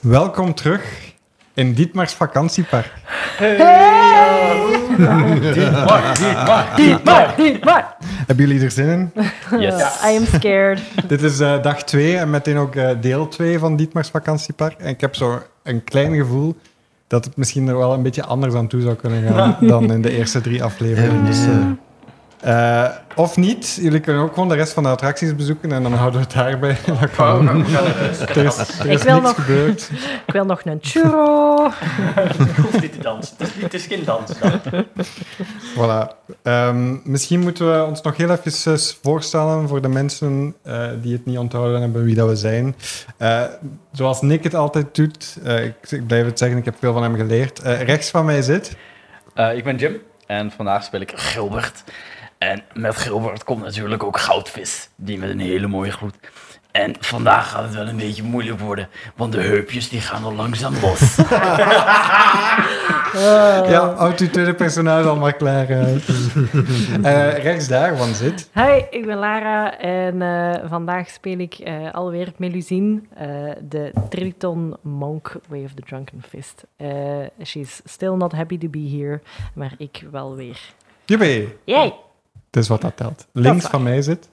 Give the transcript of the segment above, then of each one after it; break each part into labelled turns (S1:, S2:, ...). S1: Welkom terug in Dietmar's vakantiepark.
S2: Dietmar, Dietmar.
S3: Dietmar, Dietmar.
S1: Hebben jullie er zin in?
S2: Yes.
S3: I am scared.
S1: Dit is eh, dag 2 en meteen ook eh, deel 2 van Dietmar's vakantiepark. En ik heb zo een klein gevoel dat het misschien er wel een beetje anders aan toe zou kunnen gaan dan in de eerste drie afleveringen. Dus, eh, eh, of niet, jullie kunnen ook gewoon de rest van de attracties bezoeken en dan houden we het daarbij. Dat kan.
S2: Oh, we gaan naar huis.
S1: Er is, er
S3: Ik
S1: is
S3: wil
S1: niks
S3: nog-
S1: gebeurd.
S3: Ik wil nog een churro.
S2: Je hoeft niet te dansen. Het is, niet- het is geen dans. dan.
S1: Voilà. Ehm, misschien moeten we ons nog heel even eh, voorstellen voor de mensen eh, die het niet onthouden hebben wie dat we zijn. Eh, zoals Nick het altijd doet, eh, ik, ik blijf het zeggen, ik heb veel van hem geleerd. Eh, rechts van mij zit.
S4: Eh, ik ben Jim en vandaag speel ik Gilbert. En met Gilbert komt natuurlijk ook Goudvis, die met een hele mooie gloed. En vandaag gaat het wel een beetje moeilijk worden, want de heupjes die gaan al langzaam los.
S3: Eh.
S1: Ja, houd uw tweede personage al maar klaar. eh. Eh, rechts daarvan zit.
S3: Hi, ik ben Lara en eh, vandaag speel ik eh, alweer Melusine, eh, de Triton Monk Way of the Drunken Fist. Eh, she's still not happy to be here, maar ik wel weer.
S1: Juppie,
S3: Jij!
S1: dat is wat dat telt. Links
S3: waar.
S1: van mij zit.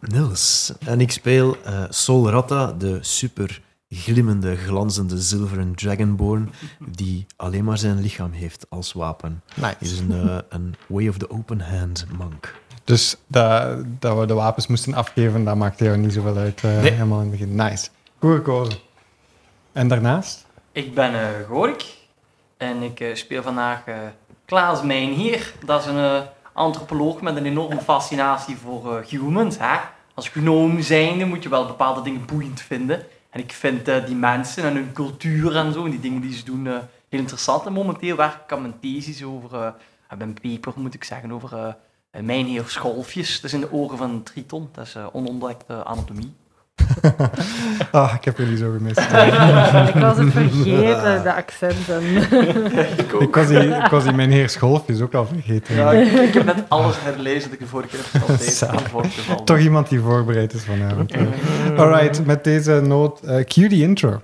S5: Niels. En ik speel eh, Sol Ratta, de super glimmende, glanzende zilveren dragonborn, die alleen maar zijn lichaam heeft als wapen. Hij is een, eh, een way of the open hand monk.
S1: Dus dat, dat we de wapens moesten afgeven, dat maakte jou niet zoveel uit. eh,
S5: Nee.
S1: Helemaal in het begin. Nice. Goed gekozen. En daarnaast?
S2: Ik ben eh, Gorik en ik eh, speel vandaag eh, Klaas Mijnheer. Dat is een eh, antropoloog met een enorme fascinatie voor eh, humans. Hè? Als gnoom zijnde moet je wel bepaalde dingen boeiend vinden. En ik vind eh, die mensen en hun cultuur en zo, en die dingen die ze doen, eh, heel interessant. En momenteel werk ik aan mijn thesis over, eh aan mijn paper moet ik zeggen, over eh eh, mijnheer Scholfjes. Dat is in de oren van een triton, dat is eh, onontdekte anatomie.
S1: Ah, ik heb jullie zo gemist.
S3: Ik was het vergeten, de accenten.
S1: ik, was die, ik was die mijn heer Scholfjes ook al vergeten.
S2: Ja, ik, ik heb net alles herlezen dat ik de vorige keer heb
S1: Zalig.
S2: gesteld.
S1: Toch iemand die voorbereid is vanavond. Alright, met deze noot, eh cue die intro.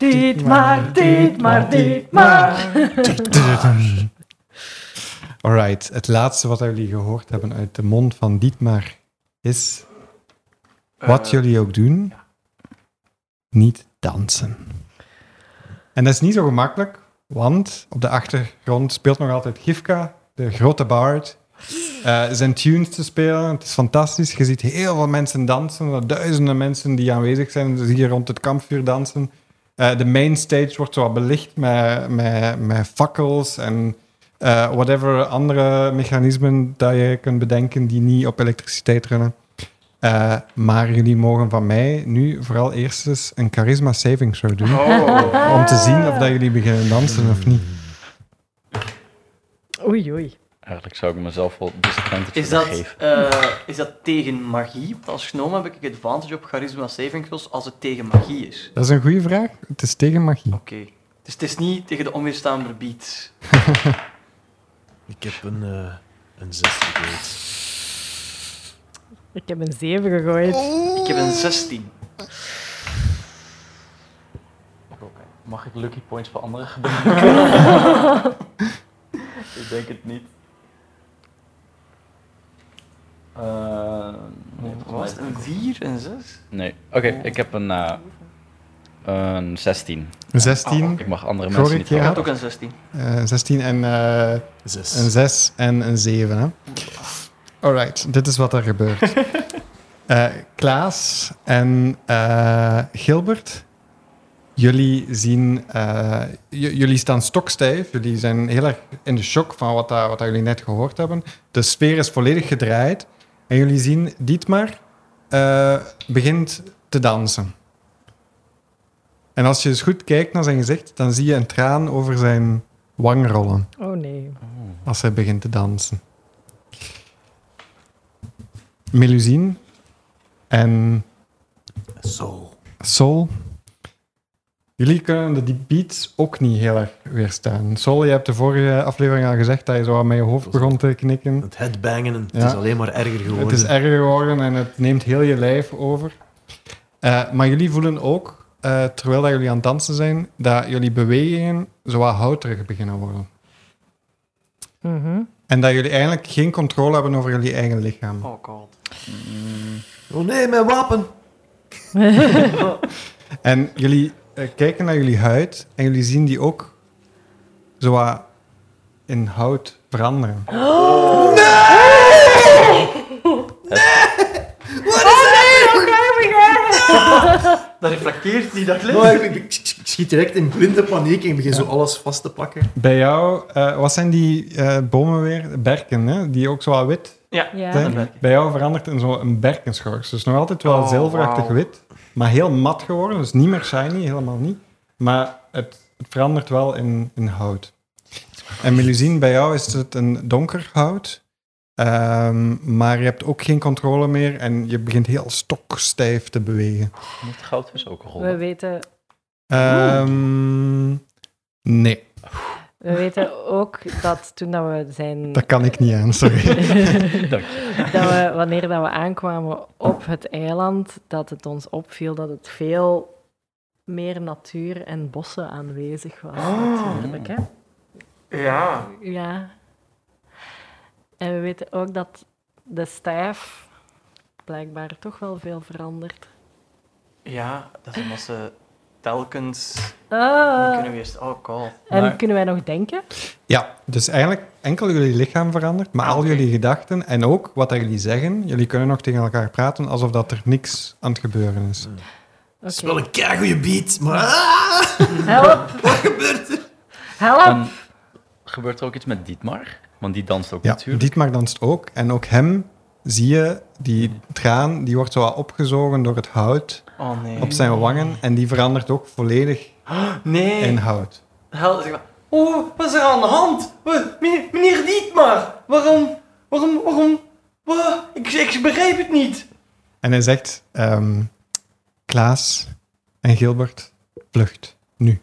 S3: Dietmar, Dietmar, Dietmar.
S1: Alright, het laatste wat jullie gehoord hebben uit de mond van Dietmar is wat jullie ook doen, niet dansen. En dat is niet zo gemakkelijk, want op de achtergrond speelt nog altijd Gifka, de grote bard, eh, zijn tunes te spelen. Het is fantastisch. Je ziet heel veel mensen dansen, er duizenden mensen die aanwezig zijn. Dus hier rond het kampvuur dansen. Eh, de main stage wordt zo wat belicht met, met, met fakkels en eh, whatever andere mechanismen dat je kunt bedenken die niet op elektriciteit runnen. Eh, maar jullie mogen van mij nu vooral eerst eens een charisma saving throw doen.
S2: Oh,
S1: Om te zien of dat jullie beginnen dansen of niet.
S3: Oei, oei.
S4: Eigenlijk zou ik mezelf wel disadvantage
S2: Is
S4: willen
S2: dat,
S4: geven.
S2: eh, is dat tegen magie? Want als gnoom heb ik advantage op charisma saving throws als het tegen magie is.
S1: Dat is een goede vraag. Het is tegen magie.
S2: Oké. Dus het is niet tegen de onweerstaanbare beat.
S5: Ik heb een, eh een zes gegooid.
S3: Ik heb een zeven gegooid.
S2: Ik heb een 16.
S4: Mag ik lucky points voor anderen gebruiken? ik denk het niet. Eh, nee, volgens
S2: Wat
S4: mij
S2: was
S4: is
S2: het?
S4: het-
S2: Een 4, een 6?
S4: Nee, oké, ik heb een, eh, een 16.
S1: 16,
S4: Ik mag andere
S1: Gorik,
S4: mensen niet
S1: ja.
S2: Ik
S4: helpen.
S2: had ook een 16.
S1: Oh, eh, 16 en eh,
S5: Zes.
S1: Een 6 en een 7. Hè? Alright, dit is wat er gebeurt. Eh, Klaas en eh, Gilbert, jullie zien, eh, j- jullie staan stokstijf. Jullie zijn heel erg in de shock van wat, daar, wat daar jullie net gehoord hebben. De sfeer is volledig gedraaid. En jullie zien Dietmar eh, begint te dansen. En als je eens goed kijkt naar zijn gezicht, dan zie je een traan over zijn wang rollen
S3: Oh nee.
S1: als hij begint te dansen. Melusine en
S5: Sol.
S1: Sol, Jullie kunnen de beats ook niet heel erg weerstaan. Sol, je hebt de vorige aflevering al gezegd dat je zo aan mijn hoofd begon te knikken.
S5: Het headbangen, het
S1: Ja.
S5: is alleen maar erger geworden.
S1: Het is erger geworden en het neemt heel je lijf over. Eh, maar jullie voelen ook, eh, terwijl dat jullie aan het dansen zijn, dat jullie bewegingen zo wat houterig beginnen worden.
S3: Mhm.
S1: En dat jullie eigenlijk geen controle hebben over jullie eigen lichaam.
S2: Oh god.
S5: Oh nee, mijn wapen!
S1: En jullie eh, kijken naar jullie huid en jullie zien die ook zo wat in hout veranderen.
S2: Dat reflecteert niet, dat
S5: Oh, ik, ik- ik schiet direct in blinde paniek en ik begin zo alles vast te pakken.
S1: Bij jou, eh, wat zijn die eh, bomen weer? Berken, hè? die ook zo wat wit
S2: Ja.
S3: Ja.
S1: zijn. Bij jou verandert in zo'n berkenschors. Dus nog altijd wel
S2: Oh,
S1: zilverachtig
S2: wauw.
S1: wit, maar heel mat geworden. Dus niet meer shiny, helemaal niet. Maar het, het verandert wel in, in hout. En Melusine, bij jou is het een donker hout. Ehm, maar je hebt ook geen controle meer en je begint heel stokstijf te bewegen.
S4: Moet goud dus ook rollen?
S3: We weten,
S1: Ehm, nee,
S3: we weten ook dat toen dat we zijn...
S1: dat kan ik niet aan, sorry.
S4: Dank
S3: dat we, wanneer dat we aankwamen op het eiland, dat het ons opviel dat het veel meer natuur en bossen aanwezig was.
S4: Oh.
S3: Natuurlijk, hè?
S2: Ja.
S3: Ja. En we weten ook dat de stijf blijkbaar toch wel veel verandert.
S2: Ja, dat is omdat ze telkens niet
S3: Ah.
S2: kunnen weer... Oh god.
S3: En
S4: Maar-
S3: kunnen wij nog denken?
S1: Ja, dus eigenlijk enkel jullie lichaam verandert, maar al
S2: Oké.
S1: jullie gedachten en ook wat dat jullie zeggen. Jullie kunnen nog tegen elkaar praten alsof dat er niks aan het gebeuren is.
S5: Het is
S3: Oké.
S5: wel een keigoeie beat, maar... Ah,
S3: Help!
S5: wat gebeurt er?
S3: Help!
S4: En gebeurt er ook iets met Dietmar? Want die danst ook
S1: Ja,
S4: natuurlijk.
S1: Dietmar danst ook en ook hem zie je, die traan, die wordt zo wat opgezogen door het hout
S2: Oh nee.
S1: op zijn wangen en die verandert ook volledig
S2: Nee.
S1: in hout.
S2: Hel, zeg maar. Oh, wat is er aan de hand? Wat, meneer, meneer Dietmar, waarom, waarom, waarom, wa- ik, ik begrijp het niet.
S1: En hij zegt, ehm, Klaas en Gilbert, vlucht, nu.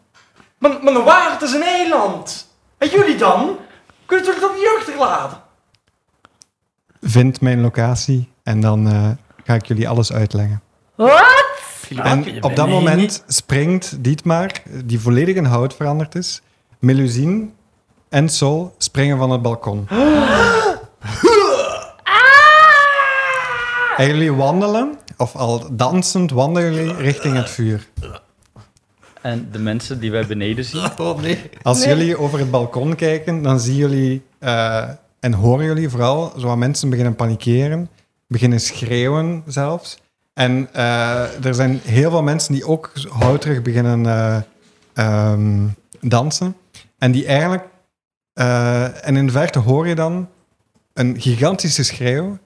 S2: Maar, maar de waard is een eiland. En jullie dan? Kunnen jullie dat niet achterlaten?
S1: Vind mijn locatie en dan eh, ga ik jullie alles uitleggen.
S3: Wat?
S1: En op dat moment springt Dietmar, die volledig in hout veranderd is, Melusine en Sol springen van het balkon. En jullie wandelen, of al dansend wandelen jullie richting het vuur.
S4: En de mensen die wij beneden zien.
S5: Oh nee.
S1: Als
S3: Nee.
S1: jullie over het balkon kijken, dan zien jullie eh, en horen jullie vooral zo aan mensen beginnen panikeren, beginnen schreeuwen zelfs. En eh, er zijn heel veel mensen die ook houterig beginnen eh, ehm, dansen. En die eigenlijk, eh, en in de verte hoor je dan een gigantische schreeuw.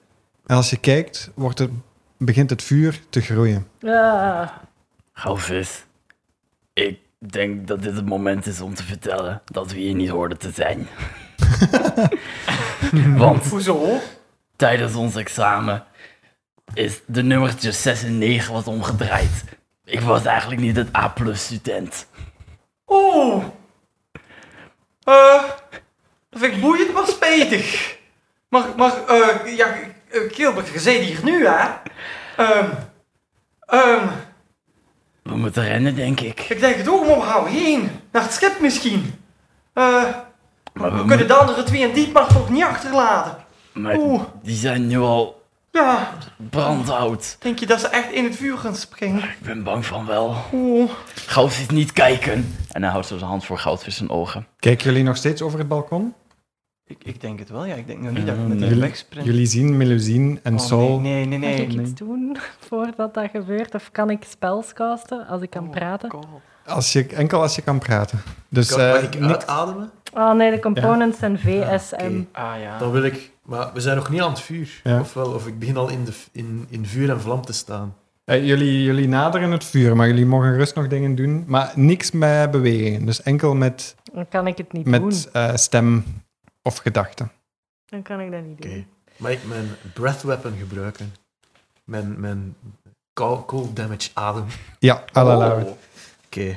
S1: En als je kijkt, wordt het, begint het vuur te groeien.
S3: Ah.
S4: Goudvis, ik denk dat dit het moment is om te vertellen dat we hier niet hoorden te zijn. Want
S2: Hoezo?
S4: tijdens ons examen is de nummertje 6 en 9 was omgedraaid. Ik was eigenlijk niet het A-plus student.
S2: Oh. Eh, dat vind ik boeiend, maar spijtig. Maar, maar, eh, ja, eh, Gilbert, je zit hier nu, hè? Ehm, ehm,
S4: We moeten rennen, denk ik.
S2: ik denk het ook, maar we gaan heen. Naar het schip misschien. Eh...
S4: Maar
S2: We
S4: we
S2: kunnen
S4: moeten.
S2: de andere twee en Dietmar toch niet achterlaten.
S4: maar
S2: Oeh.
S4: die zijn nu al
S2: Ja,
S4: brandhout.
S2: denk je dat ze echt in het vuur gaan springen?
S4: Ik ben bang van wel.
S2: Oeh.
S4: Goudvis niet kijken. En hij houdt zo zijn hand voor Goudvis zijn ogen.
S1: Kijken jullie nog steeds over het balkon?
S2: Ik, ik denk het wel, ja. Ik denk nog niet dat ik
S4: Ja,
S2: met
S4: nee.
S2: hem wegsprint.
S1: Jullie zien Melusine en
S2: Oh,
S1: Sol.
S2: Nee, nee,
S3: Mag
S2: nee.
S3: ik
S2: nee.
S3: iets doen voordat dat gebeurt? Of kan ik spells casten als ik kan
S2: Oh,
S3: praten?
S2: God.
S1: Als je, enkel als je kan praten. Dus
S5: Kan,
S1: eh,
S5: mag ik
S1: niet-
S5: uitademen?
S3: Oh nee, de components zijn VSM.
S5: Ah, oké.
S2: Ah ja.
S5: Dan wil ik... Maar we zijn nog niet aan het vuur.
S1: Ja.
S5: Ofwel, of ik begin al in, de, v- in, in vuur en vlam te staan.
S1: eh, jullie, jullie naderen het vuur, maar jullie mogen rust nog dingen doen. Maar niks met bewegingen. Dus enkel met,
S3: Dan kan ik het niet doen.
S1: met eh, stem of gedachten.
S3: Dan kan ik dat niet
S5: Oké.
S3: doen.
S5: Mag ik mijn breath weapon gebruiken? Mijn, mijn cold damage adem. Oh.
S1: Ja, à la Lauwe.
S5: Oké.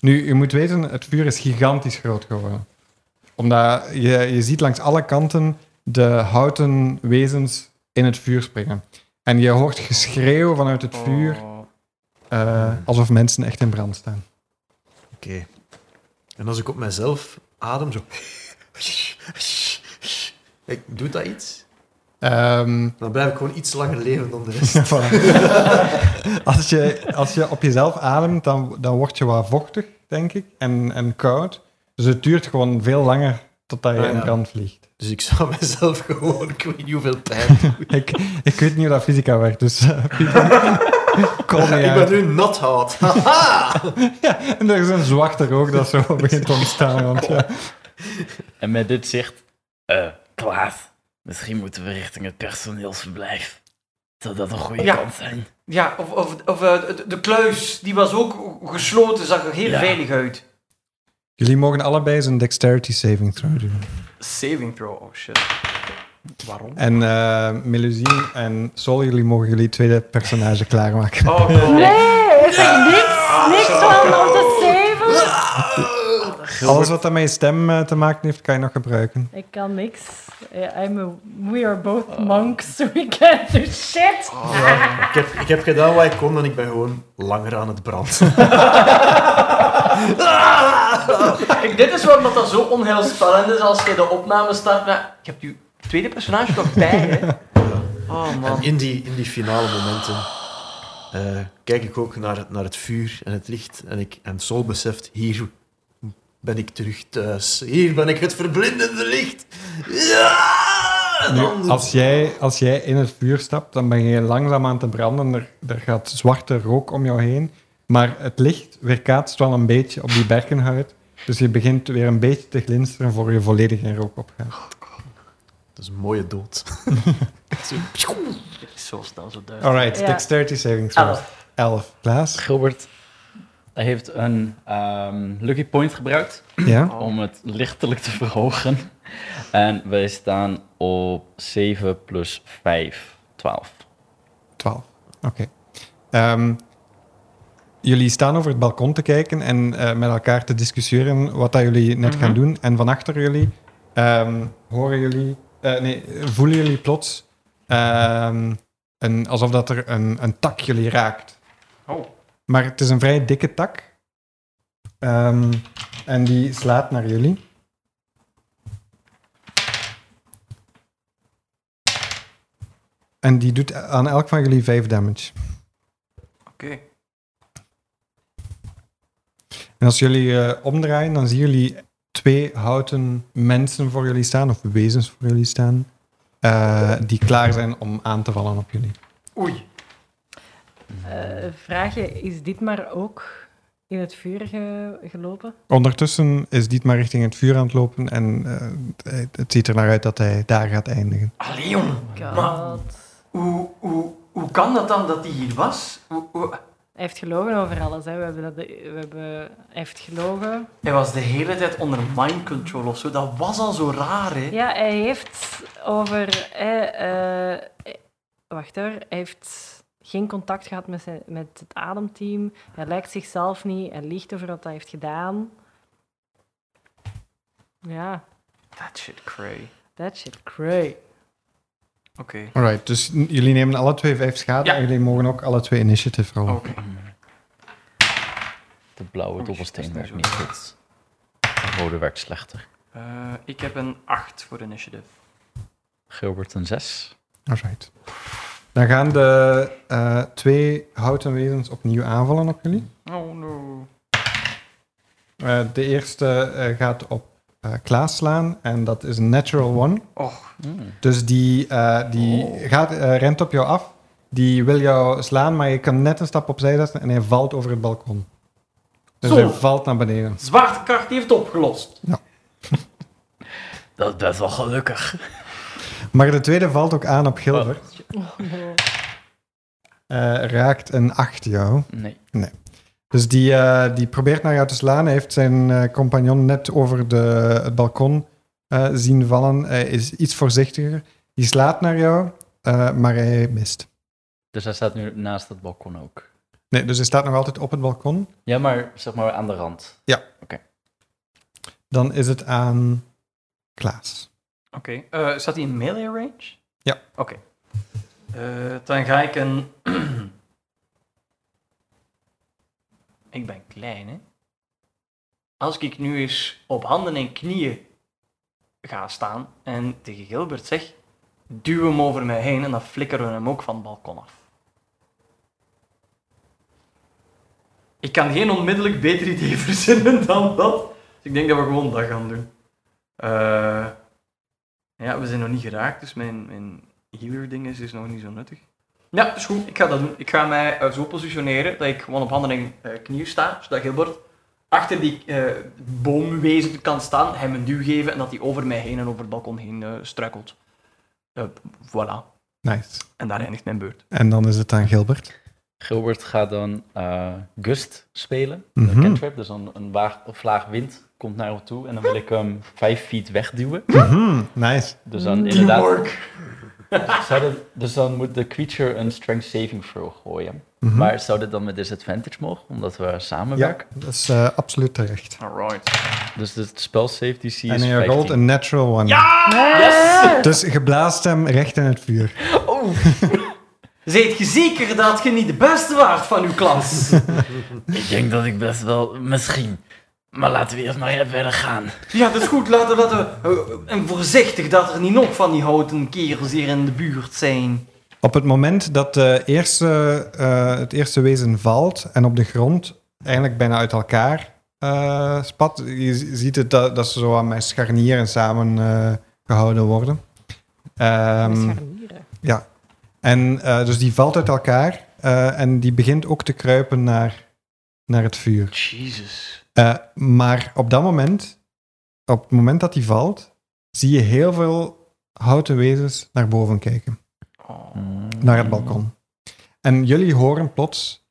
S1: Nu, je moet weten, het vuur is gigantisch groot geworden. Omdat je, je ziet langs alle kanten de houten wezens in het vuur springen. En je hoort geschreeuw vanuit het vuur,
S2: Oh.
S1: eh, alsof mensen echt in brand staan.
S5: Oké. En als ik op mezelf adem, zo... Ik, doet dat iets?
S1: Ehm,
S5: Dan blijf ik gewoon iets langer leven dan de rest.
S1: Ja, voilà. als, je, als je op jezelf ademt, dan, dan word je wat vochtig, denk ik, en, en koud. Dus het duurt gewoon veel langer totdat je
S5: Ah, ja.
S1: in brand vliegt.
S5: Dus ik zou mezelf gewoon, ik weet niet hoeveel pijn.
S1: Ik, ik weet niet hoe dat fysica werkt, dus eh, people, call me
S5: ik
S1: out.
S5: ben nu nat hout.
S1: Ja, en er is een zwarte rook dat zo begint te ontstaan. Want, ja.
S4: En met dit zicht, eh, Klaas, misschien moeten we richting het personeelsverblijf. Zou dat een goede
S2: Ja.
S4: kans zijn?
S2: Ja, of, of, of eh, de, de kluis, die was ook gesloten, zag er heel
S4: Ja.
S2: veilig uit.
S1: Jullie mogen allebei zo'n dexterity saving throw doen.
S2: Saving throw, oh shit. Waarom?
S1: En eh Melusine en Sol, jullie mogen jullie tweede personage klaarmaken.
S2: Oh, god.
S3: Nee, is er niks, niks van om te saven?
S1: Alles wat daarmee stem eh, te maken heeft, kan je nog gebruiken.
S3: Ik kan niks. Eh, I'm a- we are both
S2: Oh.
S3: monks, so we can't do shit.
S5: ik, heb, ik heb gedaan wat ik kon en ik ben gewoon langer aan het brand.
S2: Ik, dit is waarom dat, dat zo onheilspellend is als je de opname start met... Ik heb je tweede personage toch bij, hè? Oh,
S5: En
S2: man.
S5: in die, in die finale momenten eh, kijk ik ook naar, het- naar het vuur en het licht. En, ik, en Sol beseft, hier ben ik terug thuis. Hier ben ik het verblindende licht. Ja! En
S1: Nu,
S5: dan-
S1: als, jij, als jij in het vuur stapt, dan ben je langzaam aan te branden. Er, er gaat zwarte rook om jou heen. Maar het licht weerkaatst wel een beetje op die berkenhuid. Dus je begint weer een beetje te glinsteren voor je volledig in rook opgaat.
S5: Dat is een mooie dood.
S2: Dit is zo snel, zo duidelijk.
S1: Alright,
S3: Ja.
S1: dexterity saving throw.
S2: Elf.
S1: 11. Klaas?
S4: Gilbert heeft een ehm, lucky point gebruikt
S1: Ja?
S2: Oh.
S4: om het lichtelijk te verhogen. En wij staan op 7 plus 5, 12.
S1: 12. Oké. Ehm, jullie staan over het balkon te kijken en eh, met elkaar te discussiëren wat dat jullie net gaan doen. En van achter jullie ehm, horen jullie, eh, nee, voelen jullie plots ehm, een, alsof dat er een, een tak jullie raakt.
S2: Oh.
S1: Maar het is een vrij dikke tak. Ehm, en die slaat naar jullie. En die doet aan elk van jullie 5 damage.
S2: Oké.
S1: En als jullie eh, omdraaien, dan zien jullie twee houten mensen voor jullie staan, of wezens voor jullie staan, eh, die klaar zijn om aan te vallen op jullie.
S2: Oei.
S3: Eh, vraag je, is dit maar ook in het vuur ge- gelopen?
S1: Ondertussen is Dietmar richting het vuur aan het lopen en eh, het, het ziet er naar uit dat hij daar gaat eindigen.
S2: Allee, jongen. Maar-
S3: God.
S2: Hoe, hoe, hoe kan dat dan dat die hier was? Hoe, hoe-
S3: Hij heeft gelogen over alles. Hè. We hebben dat, we hebben, hij heeft gelogen.
S2: Hij was de hele tijd onder mind control of zo. Dat was al zo raar, hè?
S3: Ja, hij heeft over. Hij, eh, eh, wacht hoor. Hij heeft geen contact gehad met, zijn, met het ademteam. Hij lijkt zichzelf niet. Hij liegt over wat hij heeft gedaan. Ja,
S2: That shit cray.
S3: that shit cray.
S2: Oké.
S1: Alright, dus n- jullie nemen alle twee 5 schade
S2: Ja. Oh.
S1: en jullie mogen ook alle twee initiative rollen.
S2: Oké.
S4: De blauwe
S2: Oei,
S4: dobbelsteen
S2: dat is
S4: werkt
S2: niet
S4: niet goed. De rode werkt slechter.
S2: Eh, ik heb een 8 voor initiative.
S4: Gilbert een 6.
S1: Alright. Dan gaan de eh, twee houten wezens opnieuw aanvallen op jullie.
S2: Oh no.
S1: Eh, de eerste eh, gaat op eh, Klaas slaan en dat is een natural one.
S2: Och.
S1: Dus die, eh, die gaat, eh, rent op jou af. Die wil jou slaan, maar je kan net een stap opzij zetten en hij valt over het balkon. Dus
S2: Zo.
S1: hij valt naar beneden.
S2: Zwarte kracht heeft het opgelost.
S4: Dat is best wel gelukkig.
S1: Maar de tweede valt ook aan op Gilbert.
S3: Oh, no.
S1: Eh, raakt een 8 jou.
S4: Nee.
S1: Dus die, eh, die probeert naar jou te slaan. Hij heeft zijn eh, compagnon net over de, het balkon eh, zien vallen. Hij is iets voorzichtiger. Die slaat naar jou, eh, maar hij mist.
S4: Dus hij staat nu naast het balkon ook.
S1: Nee, dus hij staat nog altijd op het balkon.
S4: Ja, maar zeg maar aan de rand.
S1: Dan is het aan Klaas.
S2: Oké. Eh, staat hij in melee range?
S1: Ja.
S2: Oké. Eh, dan ga ik een... ik ben klein, hè? Als ik nu eens op handen en knieën ga staan en tegen Gilbert zeg... Duw hem over mij heen en dan flikkeren we hem ook van het balkon af. Ik kan geen onmiddellijk beter idee verzinnen dan dat. Dus ik denk dat we gewoon dat gaan doen. Eh... Ja, we zijn nog niet geraakt, dus mijn, mijn healer-ding is, is nog niet zo nuttig. Ja, is goed. Ik ga dat doen. Ik ga mij eh, zo positioneren dat ik gewoon op handen en eh, knieën sta, zodat Gilbert achter die eh, boomwezen kan staan, hem een duw geven en dat hij over mij heen en over het balkon heen eh, struikelt. Eh, voilà.
S1: Nice.
S2: En daar eindigt mijn beurt.
S1: En dan is het aan Gilbert.
S4: Gilbert gaat dan eh, Gust spelen.
S1: Mhm.
S4: Een cantrip, dus een, een waag, of laag wind komt naar hem toe. En dan wil ik hem vijf feet wegduwen.
S1: Mhm, nice.
S4: Dus dan inderdaad... Zou dat- dus dan moet de creature een strength saving throw gooien.
S1: Mhm.
S4: Maar zou dit dan met disadvantage mogen? Omdat we
S1: ja,
S4: samenwerken.
S1: dat is eh, absoluut terecht.
S2: Alright.
S4: Dus de spel safety DC is
S1: En hij
S4: 15.
S1: rolt een natural one. Dus je blaast hem recht in het vuur.
S2: Zijt je zeker dat je niet de beste waart van uw klas?
S4: Ik denk dat ik best wel... Misschien. Maar laten we eerst maar even verder gaan.
S2: ja, dat is goed. Laten, laten we... eh, En voorzichtig dat er niet nog van die houten kerels hier in de buurt zijn.
S1: Op het moment dat de eerste, eh, het eerste wezen valt en op de grond eigenlijk bijna uit elkaar eh, spat, je z- ziet het dat, dat ze zo aan mijn scharnieren samen eh, gehouden worden. Ehm,
S3: Scharnieren.
S1: en eh, dus die valt uit elkaar eh, en die begint ook te kruipen naar, naar het vuur.
S2: Jezus.
S1: Eh, maar op dat moment, op het moment dat die valt, zie je heel veel houten wezens naar boven kijken,
S2: Oh.
S1: naar het balkon. En jullie horen plots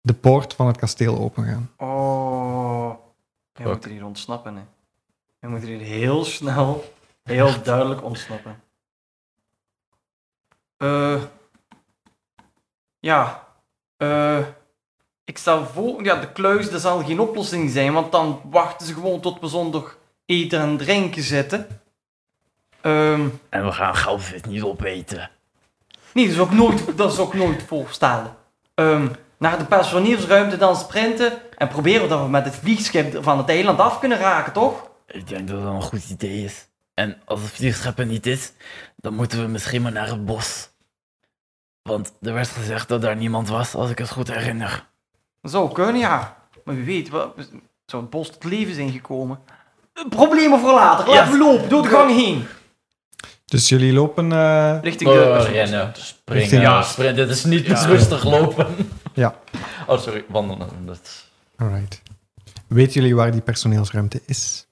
S1: de poort van het kasteel opengaan.
S2: Oh. Wij
S4: Fuck.
S2: moeten hier ontsnappen, hè. Wij moeten hier heel snel, heel duidelijk ontsnappen. Eh... ja. Eh... ik stel voor... Ja, de kluis, dat zal geen oplossing zijn, want dan wachten ze gewoon tot we zondag eten en drinken zetten. Ehm...
S4: En we gaan goudvis niet opeten.
S2: Nee, dat is ook nooit, dat is ook nooit voorstellen. Ehm, naar de personeelsruimte dan sprinten en proberen dat we met het vliegschip van het eiland af kunnen raken, toch?
S4: Ik denk dat dat een goed idee is. En als het vliegschip er niet is, dan moeten we misschien maar naar het bos. Want er werd gezegd dat daar niemand was, als ik het goed herinner.
S2: Dat zou kunnen, ja. Maar wie weet, wel, zou het bos tot leven zijn gekomen. Eh, Problemen voor later. Laten we
S4: Ja.
S2: lopen, door de gang heen.
S1: Dus jullie lopen. eh,
S2: Richting de...
S4: rennen,
S1: Richting-
S4: springen. Ja, springen. Dit is Dus niet rustig lopen.
S1: Ja.
S4: Oh, sorry, wandelen. Dat is-
S1: alright. Weten jullie waar die personeelsruimte is?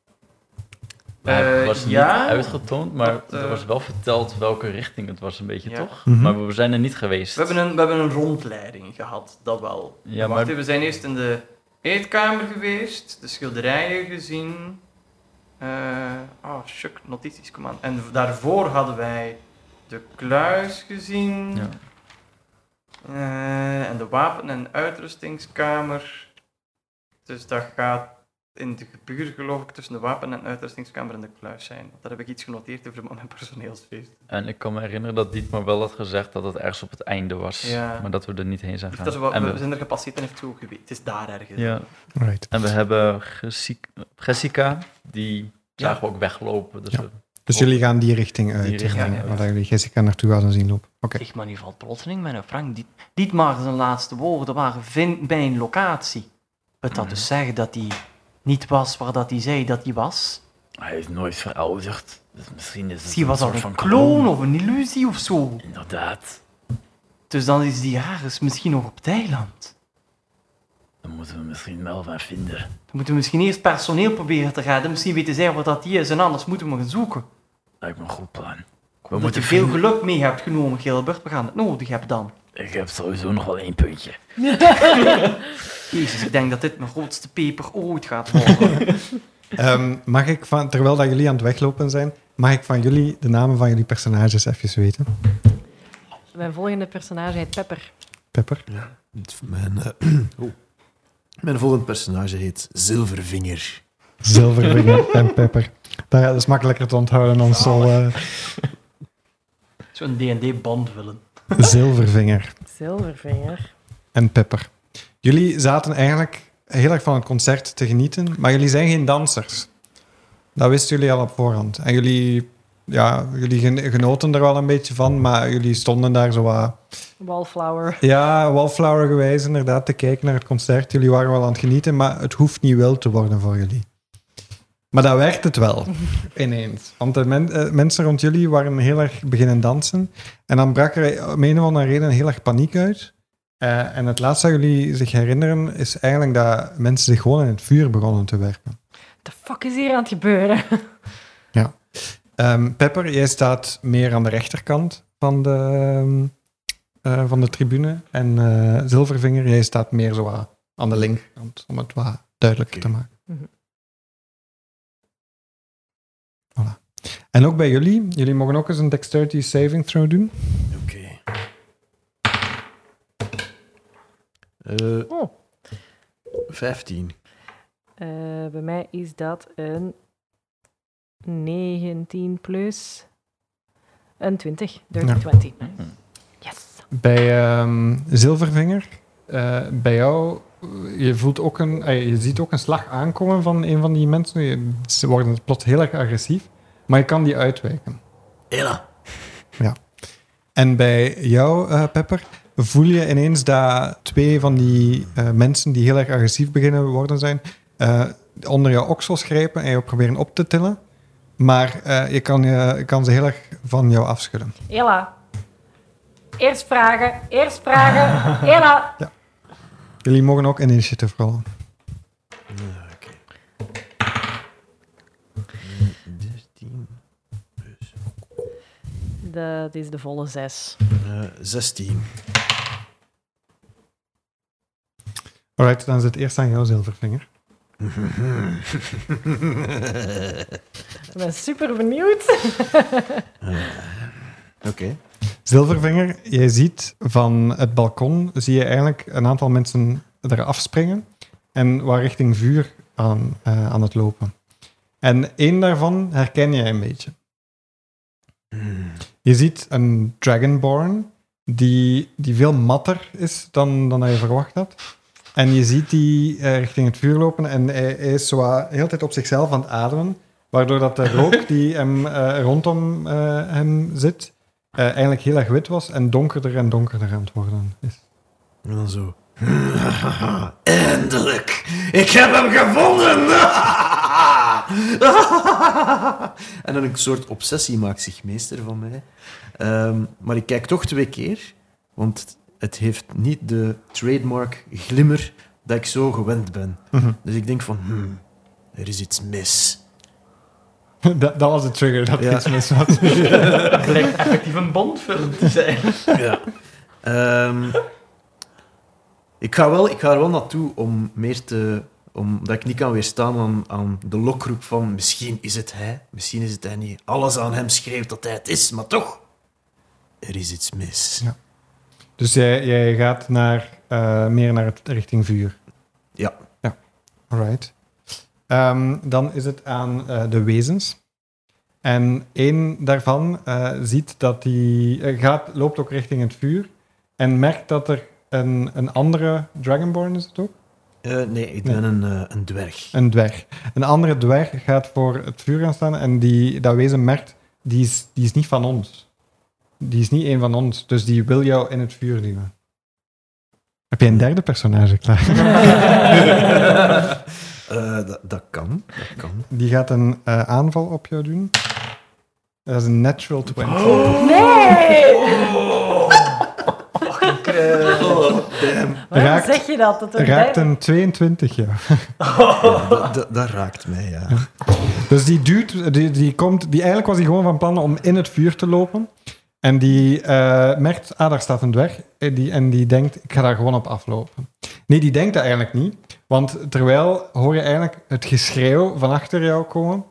S2: Eh,
S4: Het was niet
S2: ja.
S4: uitgetoond, maar
S2: Dat, eh,
S4: er was wel verteld welke richting het was, een beetje
S2: Ja.
S4: toch?
S1: Mhm.
S4: Maar we zijn er niet geweest.
S2: Hm? We hebben, een, we hebben een rondleiding gehad, dat wel.
S4: Ja,
S2: Wacht,
S4: maar-
S2: hè, we zijn eerst in de eetkamer geweest, de schilderijen gezien. Eh oh, shuck, notities, kom aan. En daarvoor hadden wij de kluis gezien.
S4: Ja.
S2: Eh, en de wapen- en uitrustingskamer. Dus dat gaat in de gebuur, geloof ik, tussen de wapen- en uitrustingskamer en de kluis zijn. Daar heb ik iets genoteerd over mijn personeelsfeest.
S4: En ik kan me herinneren dat Dietmar wel had gezegd dat het ergens op het einde was.
S2: Ja.
S4: Maar dat we er niet heen zijn
S2: Dus
S4: gaan.
S2: dat is wat,
S4: en
S2: we, we zijn er gepasseerd en heeft zo geweten. Het is daar ergens.
S4: ja.
S1: Alright.
S4: en we hebben Gessi- Jessica, die
S2: Ja.
S4: zagen we ook weglopen. Dus
S1: Ja.
S4: we-
S1: Dus jullie gaan die richting uit.
S4: richting
S1: eh,
S4: uit.
S1: Waar jullie Jessica naartoe hadden zien lopen. Oké.
S2: Zeg maar, nu valt plotseling mijn Frank. Dit, dit maar zijn laatste woorden waren vind mijn locatie. Wat
S4: Mhm.
S2: dat dus zeggen dat hij niet was waar dat hij zei dat hij was.
S4: Hij is nooit verouderd. Dus misschien is het
S2: Misschien was
S4: een
S2: dat
S4: soort
S2: een
S4: van
S2: kloon of een illusie of zo.
S4: Inderdaad.
S2: Dus dan is die Haris misschien nog op het eiland.
S4: Dan moeten we misschien Melva vinden.
S2: Dan moeten we misschien eerst personeel proberen te raden. Misschien weten zij wat dat die is en anders moeten we gaan zoeken.
S4: Lijkt me een goed plan. We
S2: Omdat je
S4: moeten
S2: veel
S4: veel
S2: geluk mee hebt genomen, Gilbert. We gaan het nodig hebben dan.
S4: Ik heb sowieso nog wel één puntje.
S2: Jezus, ik denk dat dit mijn grootste peper ooit gaat worden.
S1: Ehm, mag ik van, terwijl dat jullie aan het weglopen zijn, mag ik van jullie de namen van jullie personages even weten?
S3: Mijn volgende personage heet Pepper.
S1: Pepper.
S5: Het- Mijn, eh, oh. Mijn volgende personage heet Zilvervinger.
S1: Zilvervinger en pepper. Dat dat is makkelijker te onthouden dan Sol. eh,
S2: Zo'n D&D-band willen.
S1: eh, Zilvervinger
S3: Zilvervinger.
S1: en pepper. Jullie zaten eigenlijk heel erg van het concert te genieten, maar jullie zijn geen dansers. Dat wisten jullie al op voorhand. En jullie, ja, jullie gen- genoten er wel een beetje van, maar jullie stonden daar zo wat
S3: Wallflower.
S1: Ja, Wallflower gewijs inderdaad te kijken naar het concert. Jullie waren wel aan het genieten, maar het hoeft niet wild te worden voor jullie. Maar dat werd het wel, ineens. Want de men- eh, mensen rond jullie waren heel erg beginnen dansen. En dan brak er om een of andere reden heel erg paniek uit. Eh, en het laatste dat jullie zich herinneren, is eigenlijk dat mensen zich gewoon in het vuur begonnen te werpen.
S3: The fuck is hier aan het gebeuren?
S1: Ehm, Pepper, jij staat meer aan de rechterkant van de, ehm, eh, van de tribune. En eh, Zilvervinger, jij staat meer zo wat aan de linkerkant, om het wat duidelijker
S5: Oké.
S1: te maken.
S3: Mhm.
S1: Voilà. En ook bij jullie, jullie mogen ook eens een dexterity saving throw doen.
S5: Oké. Eh
S3: Oh.
S5: 15.
S3: Eh, bij mij is dat een 19 plus een 20. Dirty
S1: Ja.
S3: 20.
S4: Hmm.
S3: Yes.
S1: Bij ehm, Zilvervinger, eh, bij jou, eh, je, voelt ook een, eh, je ziet ook een slag aankomen van een van die mensen. Je- Ze worden plots heel erg agressief, maar je kan die uitwijken.
S5: Ella.
S1: En bij jou, eh, Pepper, voel je ineens dat twee van die eh, mensen die heel erg agressief beginnen worden zijn, eh, onder jouw oksels grijpen en jou proberen op te tillen. Maar eh, je, kan, je je kan ze heel erg van jou afschudden.
S3: Ella. Eerst vragen, eerst vragen. Ella.
S1: Jullie mogen ook een initiatief rollen.
S5: Ja, oké. Eh, 13.
S3: Dat is de volle 6.
S5: Eh, 16.
S1: Alright, dan zit eerst aan jou, Zilvervinger.
S3: Ik ben super benieuwd.
S5: Oké.
S1: Zilvervinger, jij ziet van het balkon, zie je eigenlijk een aantal mensen eraf springen en waar richting vuur aan, eh, aan het lopen. En één daarvan herken jij een beetje.
S5: Hmm.
S1: Je ziet een Dragonborn die, die veel matter is dan, dan dat je verwacht had. En je ziet die eh, richting het vuur lopen en hij, hij is zo wat de hele tijd op zichzelf aan het ademen. Waardoor dat de rook die hem, eh, rondom eh, hem zit eh, eigenlijk heel erg wit was en donkerder en donkerder aan het worden is.
S5: En dan zo. Eindelijk! Ik heb hem gevonden! en dan een soort obsessie maakt zich meester van mij. Ehm, maar ik kijk toch twee keer, want het heeft niet de trademark glimmer dat ik zo gewend ben.
S1: Mhm.
S5: Dus ik denk van, hmm, er is iets mis.
S1: dat, dat was de trigger dat
S5: Ja.
S1: er iets mis was.
S2: Het lijkt effectief een bandfilm te zijn.
S5: Ja. Ehm, ik, ga wel, ik ga er wel naartoe om meer te omdat ik niet kan weerstaan aan, aan de lokroep van misschien is het hij, misschien is het hij niet. Alles aan hem schreeuwt dat hij het is, maar toch, er is iets mis.
S1: Ja. Dus jij, jij gaat naar, eh, meer naar het, richting vuur.
S5: Ja.
S1: ja. Alright. Ehm, dan is het aan eh, de wezens. En één daarvan eh, ziet dat die eh, gaat, loopt ook richting het vuur. En merkt dat er een, een andere Dragonborn is het ook?
S5: Eh, nee, ik ben een, eh, een dwerg.
S1: Een dwerg. Een andere dwerg gaat voor het vuur gaan staan en die, dat wezen merkt, die is, die is niet van ons. Die is niet een van ons, dus die wil jou in het vuur duwen. Heb je een derde personage klaar?
S5: Eh, dat, dat kan, dat kan.
S1: Die gaat een eh, aanval op jou doen. Dat is een natural 20.
S3: Nee!
S1: Oh,
S3: Waarom
S1: Raakt-
S3: zeg je dat? dat er
S1: Raakt
S3: bij-
S1: een 22 jou.
S5: Ja, dat, dat, dat raakt mij, ja.
S1: Dus die duwt, die, die komt, die, eigenlijk was hij gewoon van plan om in het vuur te lopen. En die eh, merkt, ah, daar staat een dwerg. En die, en die denkt, ik ga daar gewoon op aflopen. Nee, die denkt dat eigenlijk niet. Want terwijl hoor je eigenlijk het geschreeuw van achter jou komen.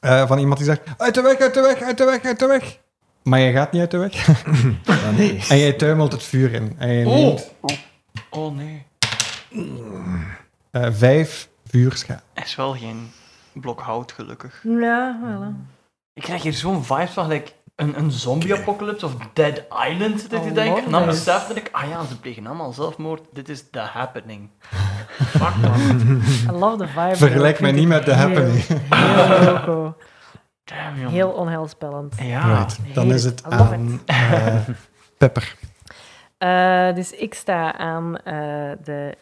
S1: eh, van iemand die zegt, uit de weg, uit de weg, uit de weg, uit de weg. Maar je gaat niet uit de weg.
S5: Ah, nee.
S1: En jij tuimelt het vuur in. En je neemt
S2: Oh nee.
S1: Eh, vijf vuurschaden.
S2: Er is wel geen blok hout, gelukkig.
S3: Ja, wel. hè.
S2: Ik krijg hier zo'n vibe van like, een, een zombie-apocalypse of Dead Island, zit ik te
S3: Oh,
S2: denken. En dan
S3: nice.
S2: besef ik, ah ja, ze plegen allemaal zelfmoord. Dit is The Happening. Fuck man.
S3: I love the vibe.
S1: Vergelijk mij
S3: me
S1: niet met de happening.
S3: Heel loco.
S2: Damn, jongen.
S3: Heel onheilspellend.
S2: Ja.
S1: Right. Dan is het
S3: I love
S1: aan eh, Pepper.
S3: Eh, dus ik sta aan eh, de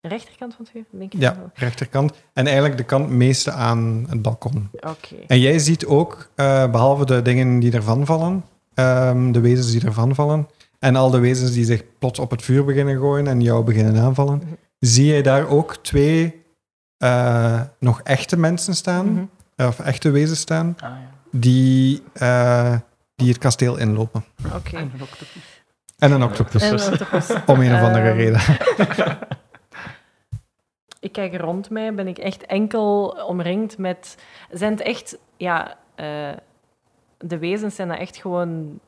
S3: rechterkant van het vuur, denk ik.
S1: Ja, rechterkant. En eigenlijk de kant meeste aan het balkon.
S3: Oké.
S1: En jij ziet ook, eh, behalve de dingen die ervan vallen, ehm, de wezens die ervan vallen, en al de wezens die zich plots op het vuur beginnen gooien en jou beginnen aanvallen,
S3: Mhm.
S1: zie je daar ook twee eh, nog echte mensen staan,
S3: Mhm.
S1: eh, of echte wezens staan,
S2: Ah, ja.
S1: die, eh, die het kasteel inlopen.
S3: Oké.
S2: En een octopus.
S1: En een octopus,
S3: En eh, een octopus.
S1: om een of andere
S3: Ehm,
S1: reden.
S3: Ik kijk rond mij, ben ik echt enkel omringd met. Zijn het echt, ja, eh, de wezens zijn dat echt gewoon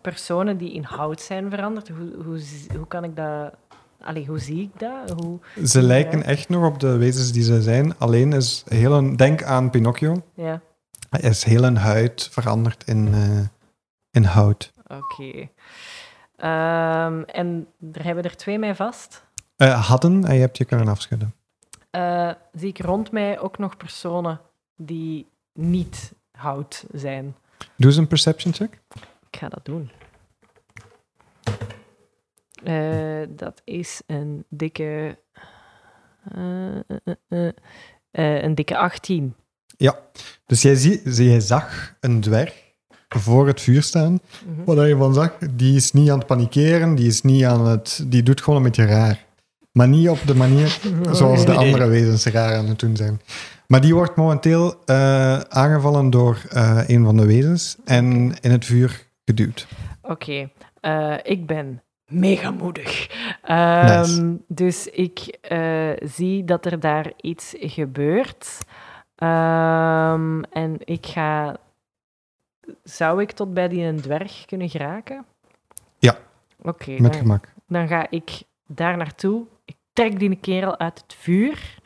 S3: personen die in hout zijn veranderd? Hoe, hoe, z- hoe kan ik dat. Allee, hoe zie ik dat? Hoe,
S1: Ze lijken echt nog op de wezens die ze zijn, alleen is heel een... Denk aan Pinocchio.
S3: ja,
S1: Er is heel een huid veranderd in, eh, in hout.
S3: oké. Ehm, en er hebben er twee mij vast.
S1: Eh, hadden en je hebt je kunnen afschudden.
S3: Eh, zie ik rond mij ook nog personen die niet hout zijn.
S1: Doe eens een perception check.
S3: Ik ga dat doen. Eh, dat is een dikke. eh, eh, eh, eh, eh, een dikke 18.
S1: Dus jij, zie, jij zag een dwerg voor het vuur staan.
S3: Mhm.
S1: Wat je van zag, die is niet aan het panikeren, die, is niet aan het, die doet gewoon een beetje raar. Maar niet op de manier zoals de
S3: Nee.
S1: andere wezens raar aan het doen zijn. Maar die wordt momenteel eh, aangevallen door eh, een van de wezens en in het vuur geduwd.
S3: Oké, eh, ik ben mega
S2: Ah,
S3: moedig. Ehm,
S1: Nice.
S3: Dus ik eh, zie dat er daar iets gebeurt. Ehm, en ik ga. Zou ik tot bij die dwerg kunnen geraken?
S1: Ja.
S3: Oké,
S1: Met
S3: dan-
S1: gemak.
S3: Dan ga ik daar naartoe. Ik trek die kerel uit het vuur.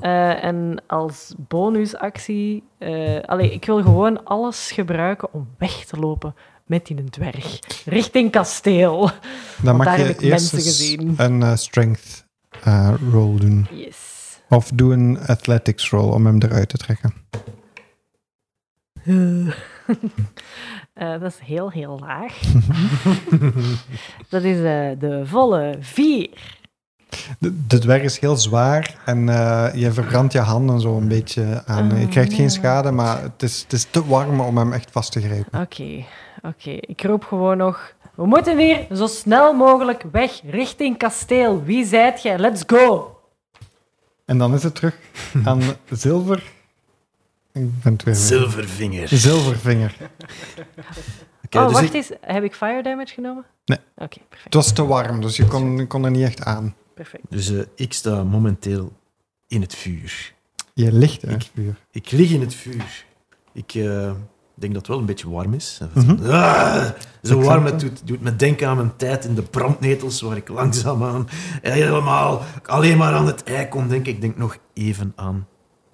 S3: Eh, en als bonusactie. eh allee, ik wil gewoon alles gebruiken om weg te lopen met die dwerg. Richting kasteel.
S1: Dan mag
S3: daar
S1: je
S3: heb ik
S1: eerst
S3: mensen
S1: eens
S3: gezien.
S1: een eh, strength eh, roll doen.
S3: Yes.
S1: Of doe een athletics roll om hem eruit te trekken.
S3: Eh, dat is heel, heel laag. dat is eh, de volle vier.
S1: De, de dwerg is heel zwaar en eh, je verbrandt je handen zo een beetje aan.
S3: Oh,
S1: je krijgt
S3: nee.
S1: geen schade, maar het is, het is te warm om hem echt vast te grijpen.
S3: Oké, oké. Ik roep gewoon nog. We moeten hier zo snel mogelijk weg richting kasteel. Wie zijt jij? Let's go!
S1: En dan is het terug aan zilver. Ik ben het weer.
S5: Zilvervinger.
S1: Zilvervinger.
S5: Oké,
S3: oh,
S5: dus
S3: wacht
S5: ik-
S3: eens. Heb ik fire damage genomen?
S1: Nee.
S3: Oké, perfect,
S1: Het was te warm, dus je kon, je kon er niet echt aan.
S3: perfect.
S5: Dus eh, ik sta momenteel in het vuur.
S1: Je ligt in het vuur.
S5: Ik lig in het vuur. Ik eh, denk dat het wel een beetje warm is.
S1: Mhm.
S5: Ah, zo
S1: Ik
S5: warm
S1: snap
S5: het doet, doet me denken aan mijn tijd in de brandnetels, waar ik langzaamaan helemaal alleen maar aan het ei kon denken. Ik denk nog even aan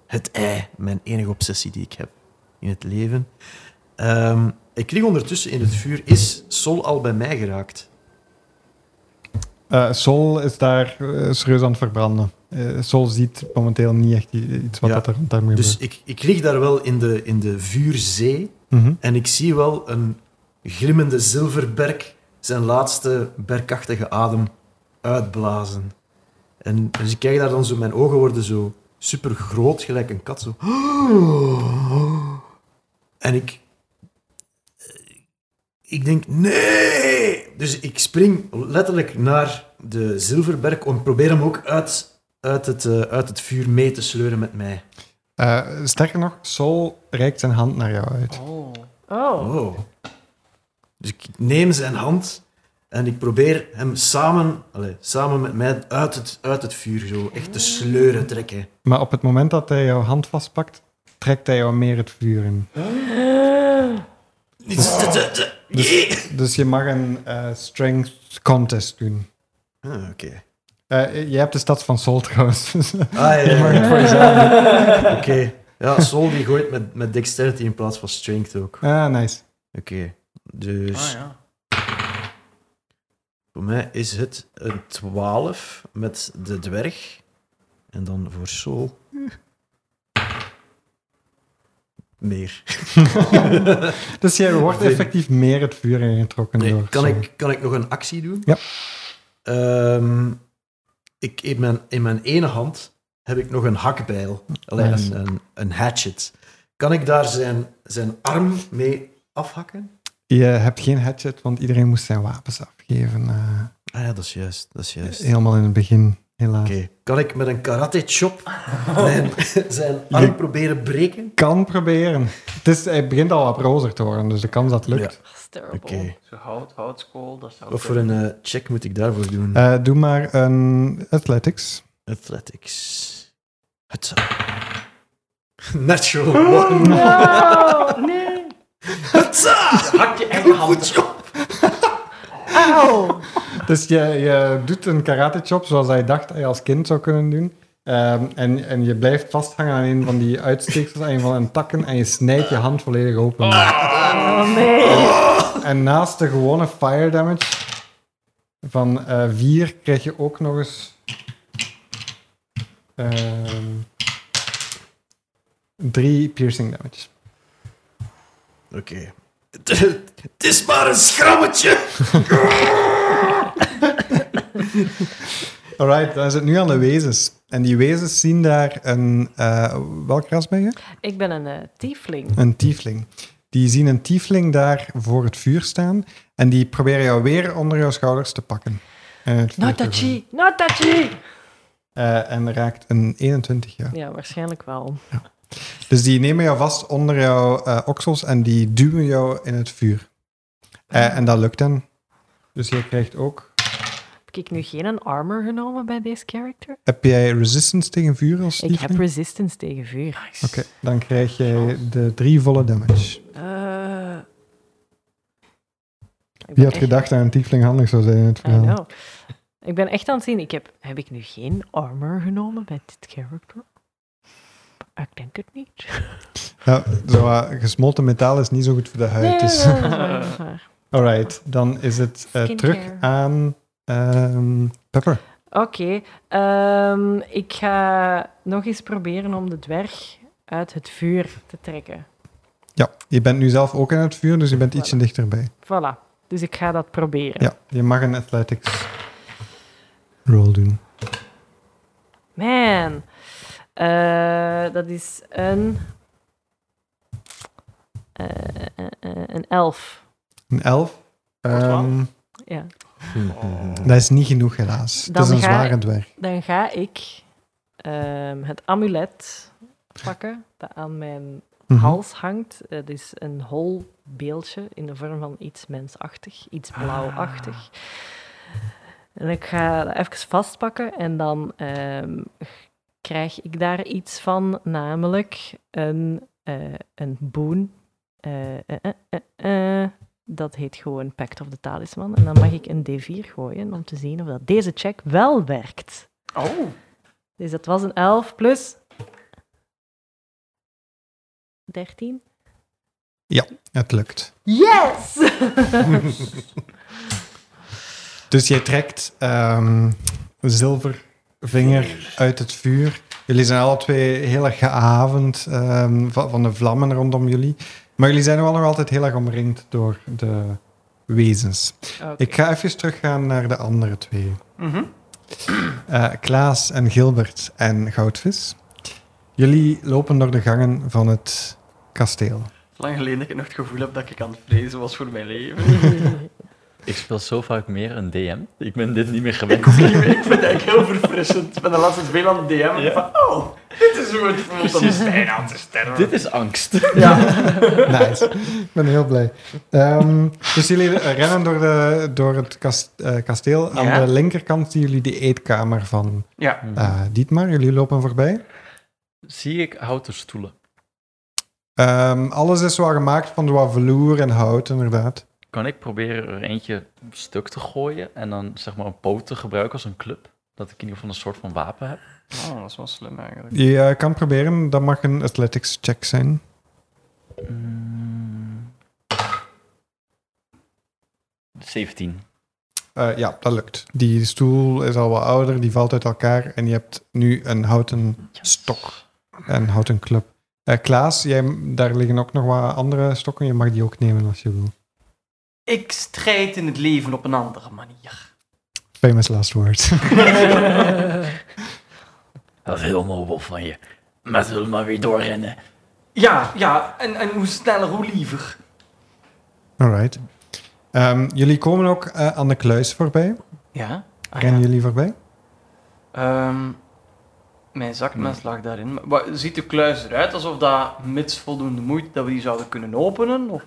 S5: het ei, mijn enige obsessie die ik heb in het leven. Ehm, ik lig ondertussen in het vuur. Is Sol al bij mij geraakt?
S1: Eh, Sol is daar eh, serieus aan het verbranden. Eh, Sol ziet momenteel niet echt i- iets wat
S5: Ja.
S1: dat er rond hem gebeurt.
S5: Dus ik, ik lig daar wel in de, in de vuurzee.
S1: Mhm.
S5: En ik zie wel een glimmende zilverberk zijn laatste berkachtige adem uitblazen. En dus ik kijk daar dan zo, mijn ogen worden zo super groot, gelijk een kat. Zo. En ik. Ik denk, nee! Dus ik spring letterlijk naar de zilverberk en probeer hem ook uit, uit, het, eh, uit het vuur mee te sleuren met mij.
S1: Eh, sterker nog, Sol reikt zijn hand naar jou uit.
S2: Oh.
S3: Oh,
S5: Oh. Dus ik neem zijn hand en ik probeer hem samen, allez, samen met mij uit het, uit het vuur zo echt te sleuren trekken.
S1: Maar op het moment dat hij jouw hand vastpakt, trekt hij jou meer het vuur in.
S5: Niet te- te- te-
S1: Dus je mag een eh, strength contest doen.
S5: Ah, Oké.
S1: Eh, je hebt de stad van Sol trouwens. dus-
S5: Ah, ja, ja,
S1: Je mag het
S5: ja.
S1: voor jezelf
S5: Oké. Ja, Sol die gooit met, met dexterity in plaats van strength ook. Oké.
S1: Ah, nice.
S5: Dus
S2: Ah, ja.
S5: voor mij is het een 12 met de dwerg. En dan voor Sol. Meer.
S1: Dus jij wordt effectief meer het vuur ingetrokken
S5: Nee,
S1: door.
S5: kan,
S1: Sol.
S5: ik, kan ik nog een actie doen?
S1: Ja.
S5: Ehm, ik, in, mijn, in mijn ene hand heb ik nog een hakbijl. Allee,
S1: Nice.
S5: een, een, een hatchet. Kan ik daar zijn, zijn arm mee afhakken?
S1: Je hebt geen hatchet, want iedereen moest zijn wapens afgeven. eh,
S5: Ah ja, dat is juist. Dat is juist.
S1: helemaal in het begin, helaas.
S5: Oké, kan ik met een karate chop zijn, zijn arm
S1: Je-
S5: proberen breken?
S1: Kan proberen. Het is, hij begint al wat rozer te worden, dus de kans dat het lukt.
S3: That's terrible.
S5: Oké.
S2: Zo hout, houtskool, dat zou
S5: Wat voor een eh, check moet ik daarvoor doen?
S1: Eh, doe maar een athletics.
S5: Athletics. Het
S2: Oh,
S5: Natural one.
S3: No, nee.
S2: Hak je eigen hand.
S3: Auw.
S1: Dus je, je doet een karate chop zoals hij dacht hij als kind zou kunnen doen. Ehm, en, en je blijft vasthangen aan een van die uitsteeksels, aan een van de takken, en je snijdt je hand volledig open.
S3: Oh nee.
S1: En naast de gewone fire damage van 4 krijg je ook nog eens. ehm, drie piercing damage.
S5: Oké. Het- Het is maar een schrammetje.
S1: Alright, dan is het nu aan de wezens. En die wezens zien daar een. eh, welk ras ben je?
S3: Ik ben een eh, tiefling.
S1: Een tiefling. Die zien een tiefling daar voor het vuur staan. En die proberen jou weer onder jouw schouders te pakken. En het vuur
S3: Not
S1: te gooien.
S3: touchy. Not touchy.
S1: Eh, en raakt een 21 jaar.
S3: Ja, waarschijnlijk wel.
S1: Dus die nemen jou vast onder jouw eh, oksels en die duwen jou in het vuur. Eh, en dat lukt dan. Dus jij krijgt ook...
S3: Heb ik nu geen armor genomen bij deze character?
S1: Heb jij resistance tegen vuur als
S3: Ik heb
S1: tiefling?
S3: resistance tegen vuur.
S2: Nice.
S1: Oké, dan krijg jij de drie volle damage.
S3: Eh, ik ben
S1: Wie had
S3: echt-
S1: gedacht dat een tiefling handig zou zijn in het
S3: I
S1: verhaal?
S3: know. Ik ben echt aan het zien. Ik heb, heb ik nu geen armor genomen bij dit character? Ik denk het niet.
S1: Ja, zo, eh, gesmolten metaal is niet zo goed voor de huid. Dus.
S3: dat is waar, dat is waar.
S1: Alright, dan is het eh, terug
S3: Skincare.
S1: aan ehm, Pepper.
S3: Oké, ehm, ik ga nog eens proberen om de dwerg uit het vuur te trekken.
S1: Ja, je bent nu zelf ook in het vuur, dus je bent ietsje dichterbij.
S3: Voilà, dus ik ga dat proberen.
S1: Ja, je mag een athletics roll doen.
S3: Man, Eh, dat is een. eh, eh, eh, een elf.
S1: Een 11. Ehm,
S3: Ja.
S1: dat is niet genoeg, helaas.
S3: Dan
S1: het is een
S3: ga-
S1: zware dwerg.
S3: Dan ga ik ehm, het amulet pakken dat aan mijn
S1: Mhm.
S3: hals hangt. Het is een hol beeldje in de vorm van iets mensachtig, iets blauwachtig. En ik ga dat even vastpakken en dan ehm, krijg ik daar iets van, namelijk een, eh, een boon. Eh, eh, eh, eh, eh. Dat heet gewoon Pact of the Talisman. En dan mag ik een D4 gooien om te zien of dat deze check wel werkt.
S2: Oh,
S3: Dus dat was een 11 plus 13.
S1: Mhm, Het lukt.
S3: Yes!
S1: Dus jij trekt ehm, zilvervinger uit het vuur. Jullie zijn alle twee heel erg gehavend ehm, va- van de vlammen rondom jullie. Maar jullie zijn wel nog altijd heel erg omringd door de wezens. Ik ga even teruggaan naar de andere twee.
S2: Mhm.
S1: Eh, Klaas en Gilbert en Goudvis. Jullie lopen door de gangen van het kasteel.
S2: lang geleden dat ik nog het gevoel heb dat ik aan het vrezen was voor mijn leven.
S4: Ik speel zo vaak meer een DM. Ik ben dit niet meer gewend.
S2: ik vind het eigenlijk heel verfrissend. Ik ben de laatste veel aan het DM. en
S4: Ja.
S2: Van, oh, dit is hoe het voelt om een stijn aan te sterren.
S4: dit is angst.
S1: Nice. Ik ben heel blij. Ehm, dus jullie rennen door, de, door het kas- eh, kasteel. Aan
S2: Ja.
S1: de linkerkant zien jullie de eetkamer van
S2: Ja.
S1: eh, Dietmar. Jullie lopen voorbij.
S4: Zie ik houten stoelen.
S1: Ehm, alles is zo gemaakt van wat vloer en hout, inderdaad.
S4: Kan ik proberen er eentje stuk te gooien en dan zeg maar een poot te gebruiken als een club? Dat ik in ieder geval een soort van wapen heb.
S2: Oh, dat is wel slim eigenlijk.
S1: Je eh, kan proberen, dat mag een athletics check zijn.
S4: Mm. 17.
S1: Eh, ja, dat lukt. Die stoel is al wat ouder, die valt uit elkaar en je hebt nu een houten stok en houten club. Eh, Klaas, jij, daar liggen ook nog wat andere stokken. Je mag die ook nemen als je wil.
S2: Ik strijd in het leven op een andere manier.
S1: Famous last words.
S4: Dat is heel nobel van je. Maar zullen we maar weer doorrennen?
S2: Ja, ja, en, en hoe sneller, hoe liever.
S1: Alright. Ehm, jullie komen ook eh, aan de kluis voorbij.
S2: Ja? Ah,
S1: Rennen
S2: ja.
S1: jullie voorbij?
S2: Ehm, mijn zakmes lag daarin. Maar, wa- ziet de kluis eruit alsof dat, mits voldoende moeite, dat we die zouden kunnen openen? Of?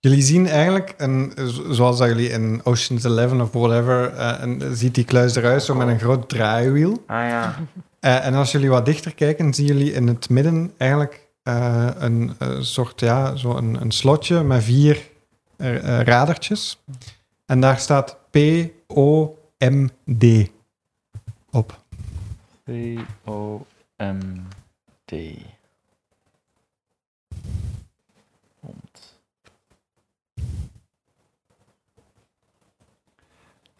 S1: Jullie zien eigenlijk, een, zo- zoals dat jullie in Ocean's Eleven of whatever, eh, een, ziet die kluis eruit zo met een groot draaiwiel.
S2: Ah ja.
S1: Eh, en als jullie wat dichter kijken, zien jullie in het midden eigenlijk eh, een eh, soort, ja, zo een, een slotje met vier eh, eh, radertjes. En daar staat P-O-M-D op.
S4: P-O-M-D.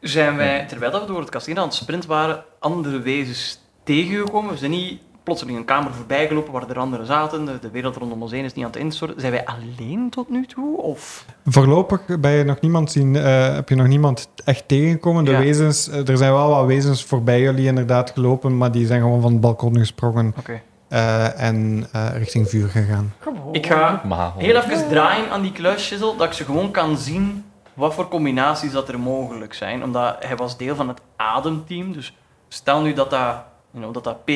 S2: Zijn wij, terwijl dat we door het kasteel aan het sprint waren, andere wezens tegengekomen? We zijn niet plotseling een kamer voorbij gelopen waar er anderen zaten. De, de wereld rondom ons heen is niet aan het instorten. Zijn wij alleen tot nu toe? Of?
S1: Voorlopig ben je nog niemand zien, eh, heb je nog niemand echt tegengekomen. De
S2: Ja.
S1: wezens, eh, er zijn wel wat wezens voorbij jullie inderdaad gelopen, maar die zijn gewoon van het balkon gesprongen
S2: Oké.
S1: eh, en eh, richting vuur gegaan.
S2: Ik ga
S4: Maar
S2: Heel even draaien aan die kluisjesel, dat ik ze gewoon kan zien wat voor combinaties dat er mogelijk zijn. Omdat hij was deel van het ademteam, dus stel nu dat dat, you know, dat, dat P,